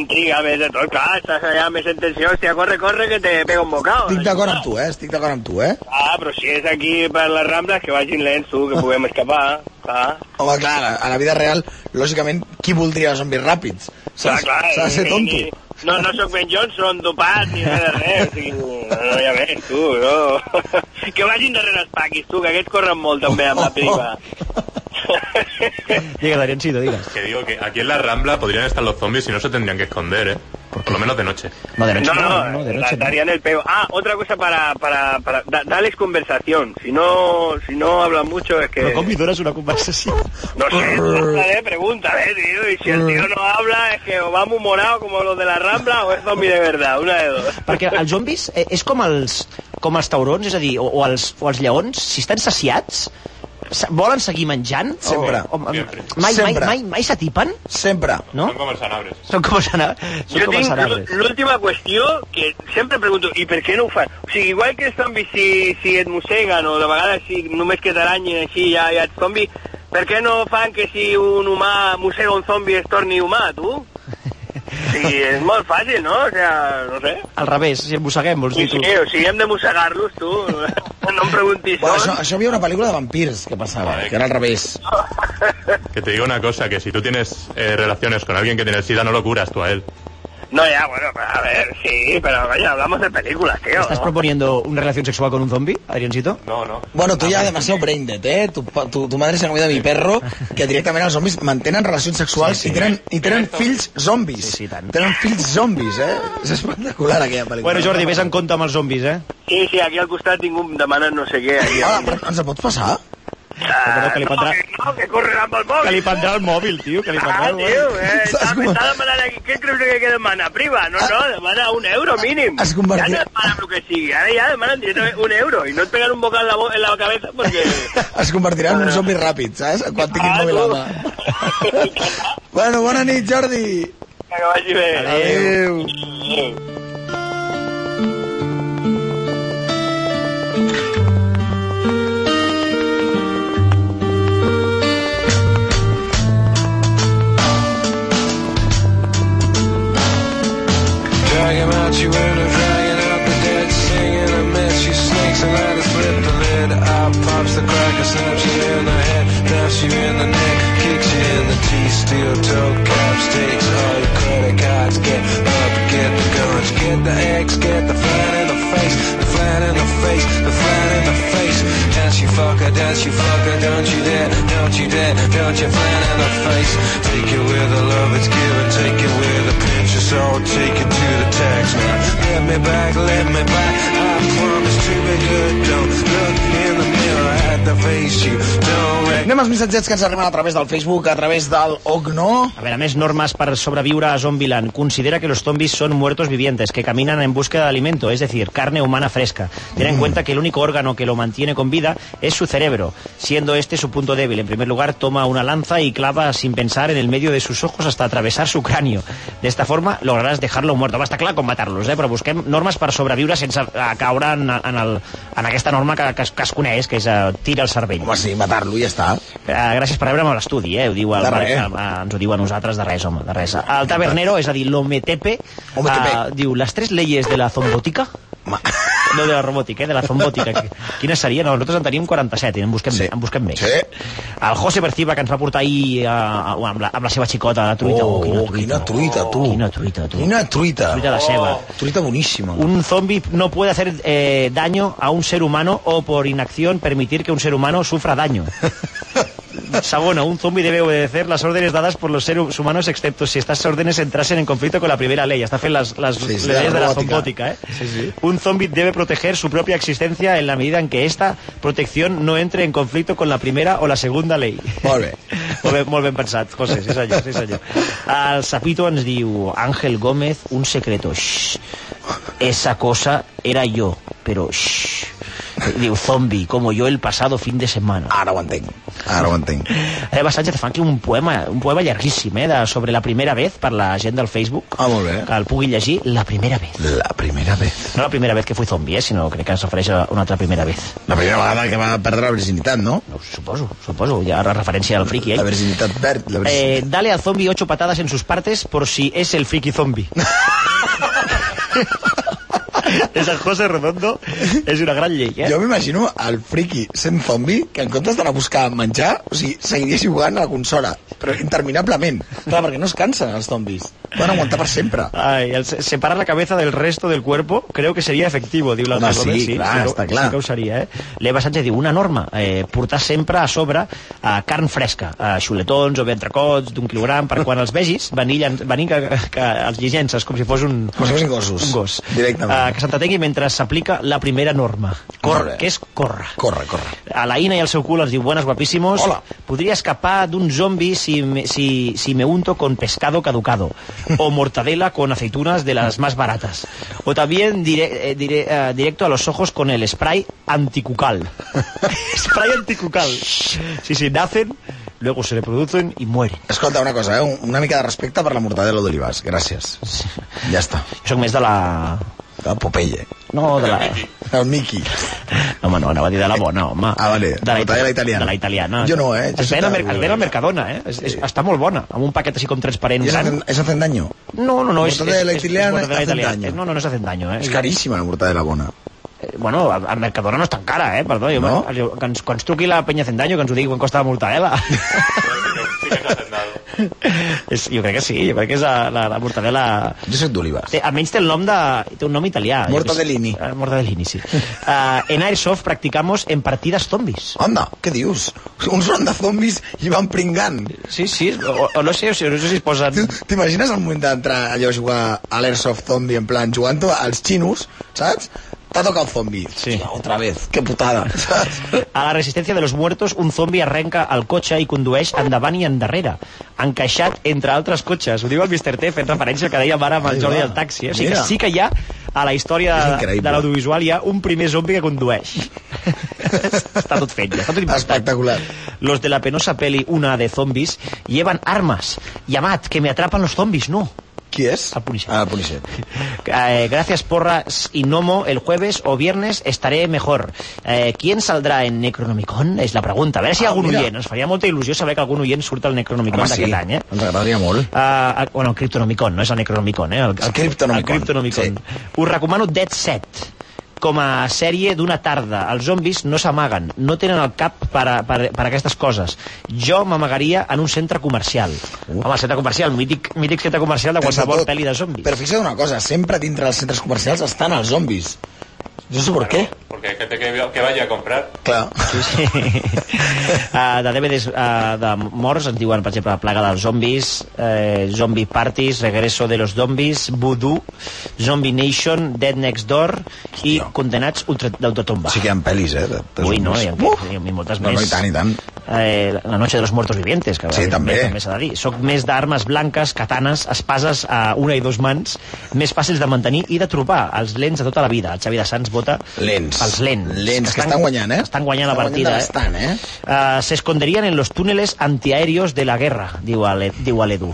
intriga, més de tot, clar, estàs allà més en tensió, hòstia, corre, corre, que te pega un bocao. Estic d'acord amb tu, eh? Estic d'acord amb tu, eh? Ah, però si és aquí per les Rambles, que vagin lents, tu, que puguem escapar, Ah. clar. Home, clar, a la- a la vida real, lògicament, qui voldria zombis ràpids? S'ha Clar, clar, s'ha de ser eh, tonto. eh, No, no sóc Ben Johnson, dopat, ni res de res. O sigui, no, no, ja ves, tu, no. Que vagin darrere els paquis, tu, que aquests corren molt també amb la prima. Diga, Dariencito, diga. Que digo que aquí en la Rambla podrían estar los zombies y no se tendrían que esconder, ¿eh? Por lo menos de noche. No, de No, no, la- darían el peo. Ah, otra cosa para, para, para da- darles conversación. Si no, si no hablan mucho es que... Però com li dones una conversació? No sé, pregúntale, pregúntale, eh, tío. Y si el tío no habla es que o va muy morado como los de la Rambla o es zombie de verdad, una de dos. Perquè els zombis eh, és com els, com els taurons, és a dir, o, o, els, o els lleons, si estan saciats, se- volen seguir menjant? Sempre. O, o, mai, mai, Sempre. mai, mai s'atipen? Sempre. No? Son como el sanabres. Són com els ana- són Jo com els tinc anabres. l- l'última qüestió que sempre pregunto, i per què no ho fan? O sigui, igual que els zombis si, si et mosseguen o de vegades si només que t'aranyen així ja, ja ets zombi, per què no fan que si un humà mossega un zombi es torni humà, tu? Sí, és molt fàcil, no? O sea, no sé. Al revés, si el mosseguem, vols Sí, dir tu. sí, o sigui, hem de mossegar-los, tu. No em preguntis. Bueno, això, això havia una pel·lícula de vampirs que passava, que era al revés. Que te digo una cosa, que si tú tienes eh, relaciones con alguien que tiene sida, no lo curas tú a él. No, ya, bueno, a ver, sí, pero coño, hablamos de películas, tío. ¿Estás proponiendo una relación sexual con un zombi, Adriancito? No, no. Bueno, tú ya demasiado brain dead, ¿eh? Tu, pa- tu, tu madre se ha comido a mi perro, que directament els zombis mantenen relacions sexuals i tenen, i tenen fills zombis. Sí, sí, tant. Tenen fills zombis, eh? És espectacular aquella pel·lícula. Bueno, Jordi, vés en compte amb els zombis, eh? Sí, sí, aquí al costat ningú em demana no sé què. Aquí, ah, però ens pot passar? Perdó, que li prendrà, No, que corren amb el mòbil. que li prendrà el mòbil, tio, que li prendrà Ah, el tio, mòbil. eh, està, està demanant aquí. Què creus que que demana? Priva? No, no, demana un euro mínim. Es converteix- Ja no demanen el que sigui. Ara ja demanen directament un euro i no et peguen un bocal en la, bo- en la cabeza perquè... Es convertirà en un zombi ràpid, saps? Quan tingui el mòbil a mà. Bueno, bona nit, Jordi. Que vagi bé. Adéu. Adéu. Dragging out you in a dragging out the dead singing I miss you snakes and let it slip the lid out pops the cracker snaps you in the head snaps you in the neck kicks you in the teeth steel toe caps takes all your credit cards get up get the guns get the eggs get the flat in the face the flat in the face the flat in the face dance you fucker dance you fucker don't you dare don't you dare don't you flat in the face take it with a love it's given take it with a pinch of salt take it to the tax man let me back let me back I promise to be good don't look in the mirror at the face you don't recognize Anem als missatgets que ens arriben a través del Facebook, a través del OGNO. A ver, a més normas para sobrevivir a Zombieland. Considera que los zombies son muertos vivientes, que caminan en búsqueda de alimento, es decir, carne humana fresca. Ten Mm. en cuenta que el único órgano que lo mantiene con vida es su cerebro, siendo este su punto débil. En primer lugar, toma una lanza y clava sin pensar en el medio de sus ojos hasta atravesar su cráneo. De esta forma lograrás dejarlo muerto. Basta clar con matarlos, eh? però busquem normes per sobreviure sense eh, caure en, en, el, en aquesta norma que, que, es, que es coneix, que és eh, tira el cervell. Home, sí, matar-lo i ja està. Eh, gràcies per veure'm a l'estudi, eh? Ho diu el De Marc, res. eh, ens ho diu a nosaltres, de res, home, de res. El tabernero, és a dir, l'Ometepe, eh, diu, les tres leyes de la zombòtica... No de la robòtica, eh? de la zombòtica. Quines serien? No, nosaltres en teníem 47, i en busquem, sí. en busquem més. Sí. El José Perciba, que ens va portar ahir eh, amb, la, amb la seva xicota, la truita. Oh, quina truita, Quina truita, tu. quina truita, tu. Quina truita. Oh, Truita de ceba. Truita boníssima. Un zombi no puede hacer eh, daño a un ser humano o por inacción permitir que un ser humano sufra daño. Sabona, un zombi debe obedecer las órdenes dadas por los seres humanos excepto si estas órdenes entrasen en conflicto con la primera ley. Hasta hacen las, las Sí, leyes sí, la de la robótica. zombótica, ¿eh? Un zombi debe proteger su propia existencia en la medida en que esta protección no entre en conflicto con la primera o la segunda ley. Molt bé. molt, ben, molt ben pensat, José, sí senyor, sí senyor. El Sapito ens diu, Ángel Gómez, un secreto, Shh. Esa cosa era yo, pero shh. Diu, zombi, como yo el pasado fin de semana. Ara ho entenc. Ara ho entenc. Eh, Eva Sánchez fan aquí un poema, un poema llarguíssim, eh, de, sobre la primera vez per la gent del Facebook. Ah, molt bé. Que el pugui llegir la primera vez. La primera vez. No la primera vez que fui zombi, eh, sinó crec que es refereix a una altra primera vez. La primera vegada que va perdre la virginitat, no? no suposo, suposo. Ja la referència al friki, eh? La virginitat verd, la virginitat. Eh, dale al zombie ocho patadas en sus partes por si es el friki zombie. és el José Redondo, és una gran llei, eh? Jo m'imagino el friki sent zombi que en comptes d'anar a buscar menjar, o sigui, seguiria jugant a la consola, però interminablement. Clar, perquè no es cansen els zombis. Poden aguantar per sempre. Ay, el se- separar la cabeza del resto del cuerpo creo que sería efectivo, diu l'altre Home, Gómez, sí, clar, que ho- està clar. Sí que ho seria, eh? L'Eva Sánchez diu, una norma, eh, portar sempre a sobre eh, carn fresca, eh, xuletons o bé entrecots d'un quilogram, per quan els vegis, venir, llan- venir que, que els lligences, com si fos un... Com si fossin gossos. Un gos. Directament. Eh, que s'entretengui mentre s'aplica la primera norma. Corre. Que és córrer. Corre, corre. A la Ina i al seu cul els diu Buenas guapíssimos Hola. Podria escapar d'un zombi si me, si, si me unto con pescado caducado O mortadela con aceitunas de las más baratas O también dire, eh, dire, eh, directo a los ojos con el spray anticucal Spray anticucal Sí, sí, nacen, luego se reproducen i mueren Escolta, una cosa, eh? un- una mica de respecte per la mortadela d'Olivas. Gràcies. Ja està. Jo soc més de la... De Popeye. No, de la... El Mickey. Home, no, anava a dir de la bona, home. Ah, vale. De la, Mortadela italiana. De la italiana. Jo no, eh? Jo Es ven, soc al de- mer- es ven al Mercadona, eh? Es, es, està molt bona, amb un paquet així com transparent. I és, gran. hacen, és hacen daño. No, no, no. Es, Mortadela italiana, hacen daño. No, no, no es hacen daño. Eh? És caríssima la mortadela bona. Eh, Bueno, al al Mercadona no és tan cara, eh? Perdó, jo, No? jo, que, ens, que ens truqui la penya hacen daño, que ens ho digui quan costa eh, la mortadela. és, jo crec que sí, jo crec que és la, la, la mortadela... Jo soc d'Olivas. Té, almenys té el nom de... Té un nom italià. jo què sé. Mortadellini. Eh, Mortadellini, sí. Uh, en Airsoft practicamos en partides zombis. Anda, què dius? Uns són de zombis i van pringant. Sí, sí, o, o no sé, o, si- no sé si es posen... Tu T'imagines el moment d'entrar allò a jugar a l'Airsoft Zombie en plan jugant als xinos, saps? T'ha tocat el zombi. Sí. Otra vez, que putada, saps? A la resistència de los muertos, un zombi arrenca el cotxe i condueix endavant i endarrere, encaixat entre altres cotxes. Ho diu el Mr. T, fent referència al que dèiem ara amb Ai, el Jordi va. del taxi. Eh? O sigui que Mira. sí que hi ha, a la història És de, increïble. de l'audiovisual, hi ha un primer zombi que condueix. Està tot fet, ja està tot inventat. Espectacular. Los de la penosa peli Una de zombis llevan armas. Llamad, que me atrapan los zombis, no. Qui és? El Punisher. Ah, el Punisher. Eh, gracias porras y Nomo, el jueves o viernes estaré mejor. Eh, ¿Quién saldrà en Necronomicon? És la pregunta. A veure si hi ha Ah, algun mira. oient. Ens faria molta il·lusió saber que algun oient surt al Necronomicon Home, sí. d'aquest any, eh? Ens agradaria molt. Uh, bueno, el Cryptonomicon, no és el Necronomicon, eh? El, El Cryptonomicon. El Cryptonomicon. Us recomano Dead Set com a sèrie d'una tarda. Els zombis no s'amaguen, no tenen el cap per, a, per, per aquestes coses. Jo m'amagaria en un centre comercial. Home, el centre comercial, mític, mític centre comercial de Pensa qualsevol Uh. tot. pel·li de zombis. Però fixa't una cosa, sempre dintre dels centres comercials estan els zombis. No sé per què. Porque hay gente que, que vaya a comprar. Clar. Sí. uh, de DVDs uh, de morts ens diuen, per exemple, Plaga dels Zombis, eh, Zombie Parties, Regreso de los Zombies, Voodoo, Zombie Nation, Dead Next Door i Condenats ultra- d'Ultratomba. Sí que hi ha pel·lis, eh? De, de Ui, no, hi ha, Uf! hi ha moltes No, més. no, i tant, i tant. Eh, la noche de los muertos vivientes, que Sí, eh, també. també s'ha de dir. Soc més d'armes blanques, katanes, espases a una i dos mans, més fàcils de mantenir i de trobar els lents de tota la vida. El Xavi de Sants vota Lents. els lents. Lents, que estan guanyant, eh? Estan guanyant la Estan guanyant partida, bastant, eh? Uh, se esconderían en los túneles antiaéreos de la guerra, diu a l'E- diu a l'Edu.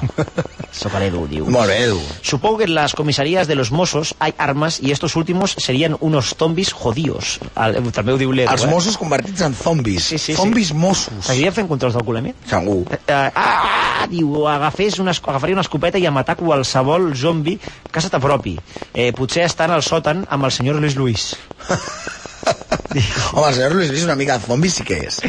Soc a l'Edu, diu. Molt bé, Edu. Supongo que en las comisarías de los Mossos hay armas y estos últimos serían unos zombis jodidos. Al, també ho diu l'Edu, Els eh? Mossos convertits en zombis. Sí, sí, sí. zombis Mossos. Seguirien fent controls d'alcoholèmia? Segur. Eh, eh, ah, diu, agafés una, es- agafaria una escopeta i a matar qualsevol zombi que se t'apropi. Eh, potser estan al sòtan amb el senyor Luis Luis. Home, el senyor Luis Luis una mica de zombi sí que és.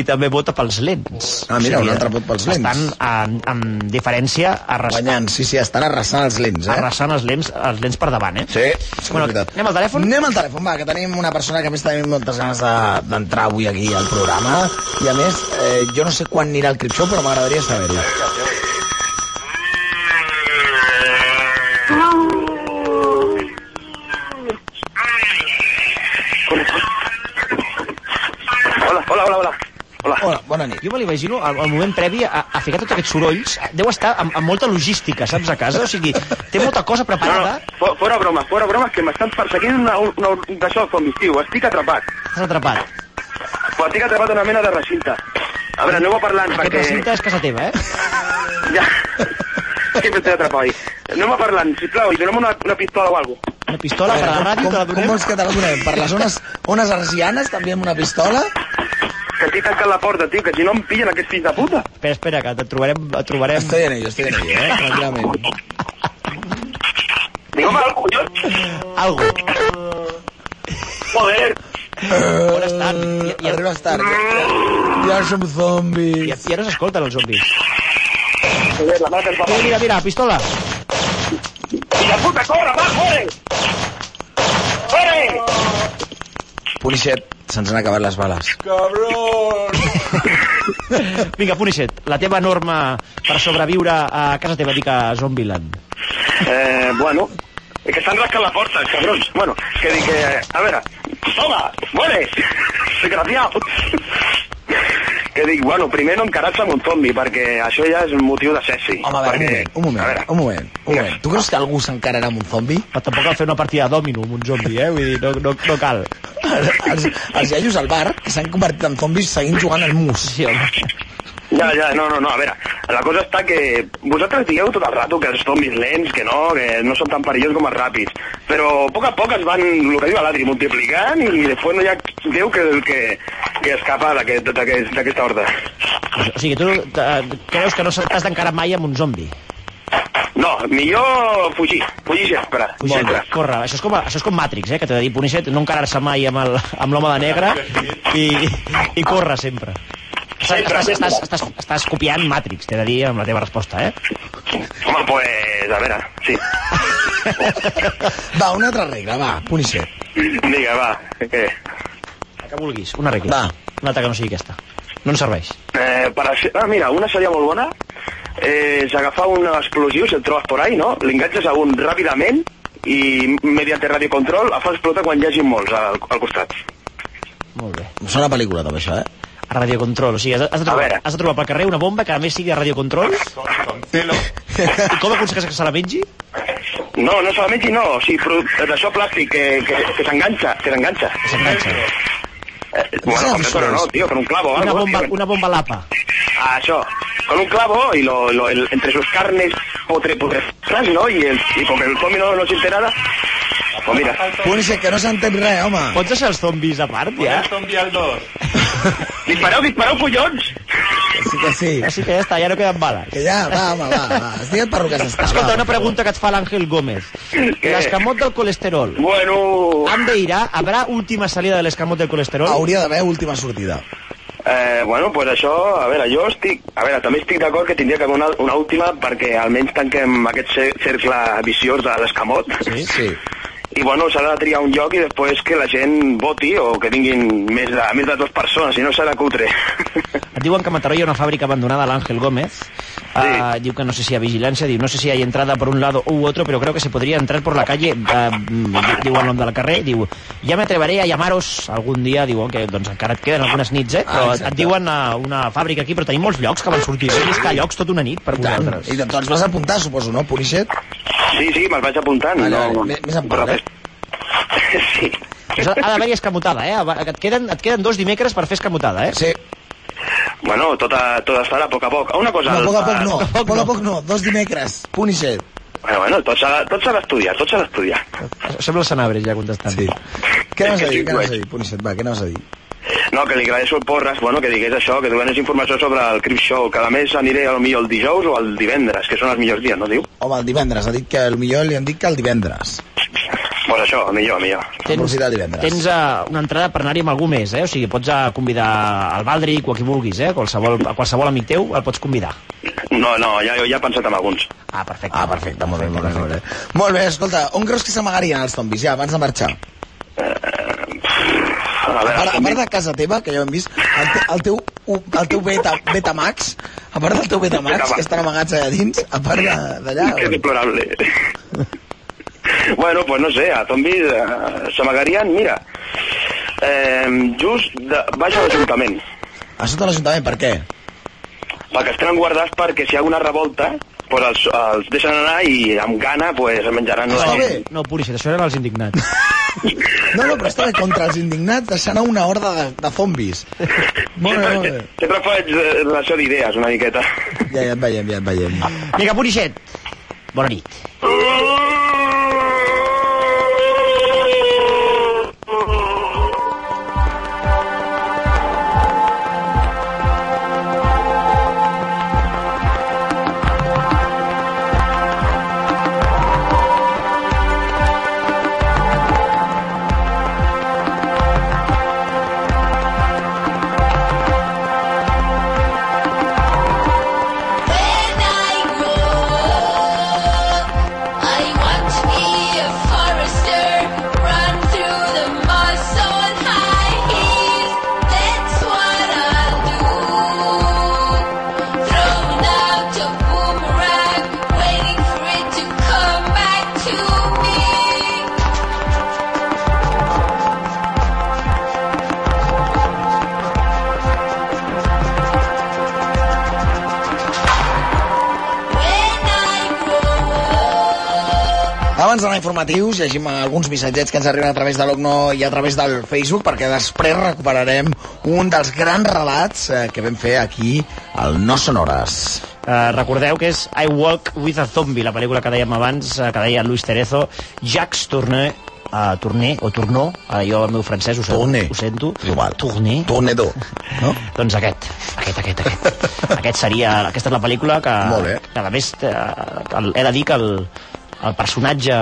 I també vota pels lents. eh. Ah, mira, un altre vot pels lents. Estan, en, en diferència, arrasant, Guanyant, sí, sí, estan arrasant els lents, eh? arrasant els, lents, els lents per davant, eh? Sí, és Bueno, veritat. anem al telèfon? Anem al telèfon, va, que tenim una persona que a més tenim moltes ganes de- d'entrar avui aquí al programa i a més, eh, jo no sé quan anirà el cripxó, però m'agradaria saber-ho. Hola, hola, hola, hola. Hola, bona nit. Jo me l'imagino, al, al moment previ, a, a ficar tots aquests sorolls, deu estar amb, amb molta logística, saps, a casa? O sigui, té molta cosa No, preparada, no, fo- fora bromes, fora bromes, que m'estan perseguint una, una, un d'això, zombis, tio, estic atrapat. estàs atrapat. Estic atrapat en una mena de recinte. A veure, aneu parlant Aquest perquè... recinte és casa teva, eh? Ja. Sempre té atrapoi. Aneu parlant, sisplau, i donem una, una pistola o alguna cosa. Una pistola per la ràdio com, te la com vols que te la donem? Per les zones, ones arsianes també amb una pistola? Que t'he tancat la porta, tio, que si no em pillen aquests fills de puta. Espera, espera, que et trobarem... Et trobarem... Estoy en ello, estoy en ello, eh? Tranquilament. Digue'm algo, collons. Algo. Joder. On estan? Ja, ja... Arribes tard. Ja, ja som zombis. Ja, ja no s'escolten els zombis. Joder, la mare que el Mira, Eh, mira, mira, pistola. Mira, puta, corre, va, corre! Corre! Punixet, se'ns han acabat les bales. Vinga, Punixet, la teva norma per sobreviure a casa teva, dic a Zombieland. Eh, bueno, és que s'han rascat la porta, els cabrons. Bueno, és que dic, eh, a veure, toma, muere, desgraciado. Que dic, bueno, primer no encarar-se amb un zombi, perquè això ja és un motiu de sexy. Home, a veure, perquè... un moment, un moment, un moment, un moment. Tu creus que algú s'encararà amb un zombi? Però tampoc cal fer una partida de dòmino amb un zombi, eh? Vull dir, no, no, no cal. Els, els iaios al bar que s'han convertit en zombis seguint jugant al mus. Sí, home. Ja, ja, no, no, no, a veure, la cosa està que vosaltres dieu tot el rato que els zombis lents, que no, que no són tan perillosos com els ràpids, però a poc a poc es van, el que diu l'Adri, multiplicant i després no hi ha Déu que, que, que escapa d'aquest- d'aquest- d'aquesta horda. O sigui, tu eh, creus que no t'has d'encarar mai amb un zombi? No, millor fugir, fugir sempre, Molt bé, sempre. corre. Això és, com, això és com Matrix, eh, que t'ha de dir, Punixet, no encarar-se mai amb el- amb l'home de negre i, i corre sempre. Estàs, estàs, estàs, estàs, estàs copiant Matrix, t'he de dir, amb la teva resposta, eh? Home, pues, a veure, sí. Va, una altra regla, va, Punixet. Vinga, va, que... La que vulguis, una regla. Va. Una altra que no sigui aquesta. No ens serveix. Eh, per a... Ah, mira, una seria molt bona eh, és agafar un explosiu, si el trobes por ahí, no? L'enganxes a un ràpidament i mediante radiocontrol el fa explotar quan hi hagi molts al, al costat. Molt bé. Em sona pel·lícula, també, això, eh? A radiocontrol, o sigui, has de, has de, trobar, has de trobar pel carrer una bomba que a més sigui de radiocontrol Celo. i com aconsegueixes que se la mengi? No, no se la mengi, no. O sigui, producte d'això plàstic que, que, que s'enganxa, que s'enganxa. S'enganxa. Eh, bueno, com de toro, no, tio, con un clavo. Una algo, bomba, tio. una bomba lapa. Ah, això, con un clavo y lo, lo, el- entre sus carnes potre, potre, ¿no? Y, el, y con que el zombie no, no siente nada, pues mira. Punixet, que no s'entén res, home. Pots deixar els zombis a part, ja? Zombi al 2. Dispareu, dispareu, collons! Sí que sí. Així que ja està, ja no queden bales. Que ja, va, home, va, va. Estiguem per lo que s'està. Escolta, una pregunta que et fa l'Àngel Gómez. L'escamot del colesterol. Bueno... Han d'irà? Habrà última salida de l'escamot del colesterol? Hauria d'haver última sortida. Eh, bueno, pues això, a veure, jo estic... A veure, també estic d'acord que tindria que haver una, una última perquè almenys tanquem aquest cer- cercle viciós de l'escamot. Sí, sí. I bueno, s'ha de triar un lloc i després que la gent voti o que tinguin més de, més de dues persones, si no serà cutre. Et diuen que a Mataró hi ha una fàbrica abandonada, l'Àngel Gómez. Ah, diu que no sé si hi ha vigilància, diu no sé si hay entrada por un lado u otro, pero creo que se podría entrar por la calle, eh, mm, diu el nom del carrer, diu, ja m'atreveré a llamaros algun dia, diuen que doncs encara et queden algunes nits, eh? Però Ah, et exacte. diuen a una fàbrica aquí, però tenim molts llocs que van sortir, sí. llistar llocs tota una nit per I tant. vosaltres. I de tots vas apuntar, suposo, no, Punixet? Sí, sí, me'ls vaig apuntant. Vale, no, vale, Ah, més- més en part, eh? Sí. Això Ha d'haver-hi escamotada, eh? Aba- Et queden, et queden dos dimecres per fer escamotada, eh? Sí. Bueno, tot, a, tot es farà a poc a poc. Una cosa... No, a poc a poc no, Ah, el- a poc a poc no, dos dimecres, Punixet. Bueno, bueno, tot s'ha de- tot s'ha d'estudiar, tot s'ha d'estudiar. Sembla el Sanabres ja contestant. Sí. Què anaves que a dir, sí, què anaves a guai. dir, Punixet, va, què anaves a dir? No, que li agraeixo al Porres, bueno, que digués això, que donés informació sobre el Crip Show, que a més aniré al millor el dijous o el divendres, que són els millors dies, no diu? Home, el divendres, ha dit que el millor li han dit que el divendres. Pues això, el millor, el millor. Tens, Aprofitar el divendres. tens uh, una entrada per anar-hi amb algú més, eh? O sigui, pots uh, convidar al Baldri, a qui vulguis, eh? Qualsevol, a qualsevol amic teu el pots convidar. No, no, ja, ja he pensat en alguns. Ah, perfecte. Ah, perfecte, molt bé, molt bé, molt bé. Molt bé, escolta, on creus que s'amagarien els zombis, ja, abans de marxar? A A veure, part, a com part dic, de casa teva, que ja ho hem vist, el, te, el teu, u- el teu beta, Betamax, a part del teu Betamax, Betamax. que estan amagats allà dins, a part de- Ah, d'allà... és on- deplorable. bueno, pues no sé, a zombis eh, s'amagarien, mira, eh, just de, baix a l'Ajuntament, A sota l'Ajuntament, per què? perquè es tenen guardats perquè si hi ha una revolta, pues els, els deixen anar i amb gana pues, es menjaran la Està gent. bé. No, Purixet, això eren els indignats. No, no, però està bé, contra els indignats, deixant a una horda de, de zombis. Molt bé, molt bé. Sempre faig eh, relació d'idees, una miqueta. Ja, ja et veiem, ja et veiem. Mica Purixet, bona nit. Abans d'anar a informatius, llegim alguns missatgets que ens arriben a través de l'Ogno i a través del Facebook, perquè després recuperarem un dels grans relats eh, que vam fer aquí al No Sonores. Eh, recordeu que és I Walk with a Zombie, la pel·lícula que dèiem abans, eh, que deia Luis Cerezo, Jacques Tourneur, eh, Tourné o Tournó, eh, jo el meu francès ho, sento, ho sento. Igual. Tourné. Tourné do. No? doncs aquest, aquest, aquest, aquest. aquest seria, aquesta és la pel·lícula que, Molt bé. que a més, eh, el, he de dir que el, el personatge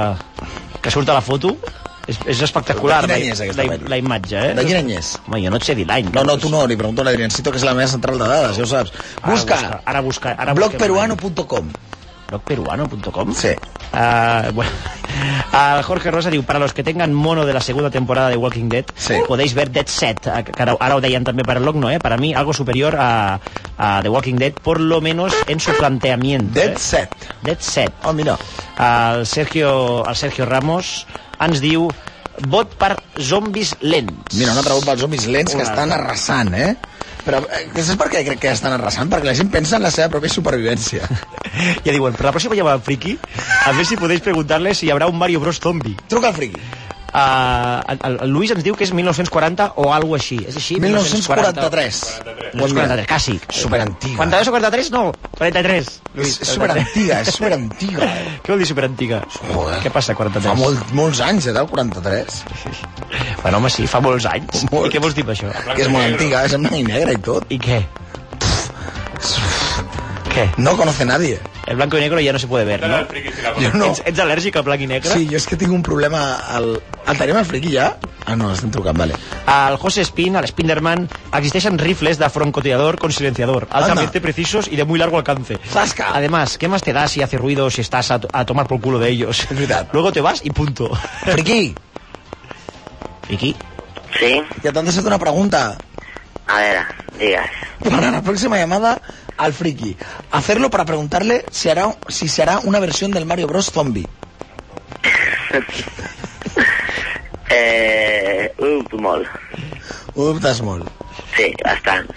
que surt a la foto és, és espectacular De quin la- any és aquesta la, pel·lícula? la imatge, eh? De quin any és? Home, jo no et sé dir l'any. No, no, tu no, li pregunto a l'Adriancito, que és la meva central de dades, ja ho saps. Ara Busca, busca- ara busca, ara blogperuano.com blogperuano.com Sí. Ah, bueno. Ah, Jorge Rosa diu, para los que tengan mono de la segunda temporada de Walking Dead, podéis ver Dead Set, ah, que ara, ara ho deien també per el Logno, eh? para mí algo superior a, a The Walking Dead, por lo menos en su planteamiento. Dead Set. Dead Set. Oh, mira. El Sergio, el Sergio Ramos ens diu, vot per zombis lents. Mira, una pregunta pels zombis lents que Una estan altra. arrasant, eh? Però eh, saps per què crec que estan arrasant? Perquè la gent pensa en la seva pròpia supervivència. Ja diuen, per la pròxima llamada friki, a veure si podeu preguntar-les si hi haurà un Mario Bros zombie. Truca al friki. Uh, el, el Luis ens diu que és 1940 o algo així. És així? 1943. 1943, quasi. Superantiga. 42 o 43? No, 43. És superantiga, és superantiga. Què vol dir superantiga? eh? Joder. Què passa, 43? Fa molt, molts anys, eh, del 43. Bueno, home, sí, fa molts anys. Molt. I què vols dir per això? Que és molt antiga, és en blanc i negre i tot. I què? Què? No conoce nadie. El blanco y negro ja no se puede ver, no? Jo no. Ets, ets al·lèrgic al blanc i negre? Sí, jo és que tinc un problema al... El tenim al friki ja? Ah, no, estem trucant, vale. Al José Spin, al Spinderman, existeixen rifles de francotirador con silenciador, altamente precisos y de muy largo alcance. ¡Zasca! Además, ¿qué más te da si hace ruido, si estás a, a tomar por culo de ellos? Luego te vas y punto. Friki! Friki? Sí? Que t'han deixat una pregunta. A ver, digas. Para la próxima llamada al friki. Hacerlo para preguntarle si hará, si se hará una versión del Mario Bros. Zombie. Eh, up molt. Ho dubtes molt. Sí, bastant.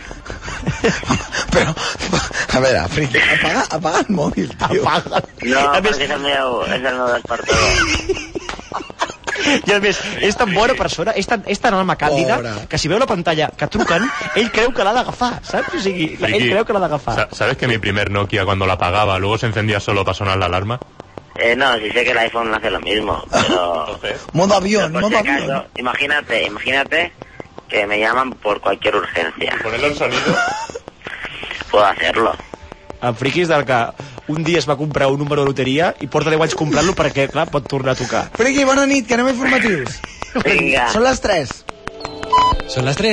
Però, a veure, friki, apaga, apaga el mòbil, tio. Apaga. No, perquè és el meu, és el meu despertador. I a més, és tan bona persona, és tan, és tan alma càndida, Pobre. que si veu la pantalla que truquen, ell creu que l'ha d'agafar, saps? O sigui, la- ell Friki. creu que l'ha d'agafar. Sa- ¿Sabes que mi primer Nokia cuando la apagaba luego se encendía solo para sonar la alarma? Eh, no, si sé que el iPhone hace lo mismo, Ah. pero... Modo avión, Por si acaso, imagínate, imagínate que me llaman por cualquier urgencia. ¿Ponerle un sonido? Puedo hacerlo. El friki és del que un dia es va comprar un número de loteria i porta 10 anys comprant-lo perquè, clar, pot tornar a tocar. Friki, bona nit, que anem a informatius. Vinga. Són les 3. Són les 3.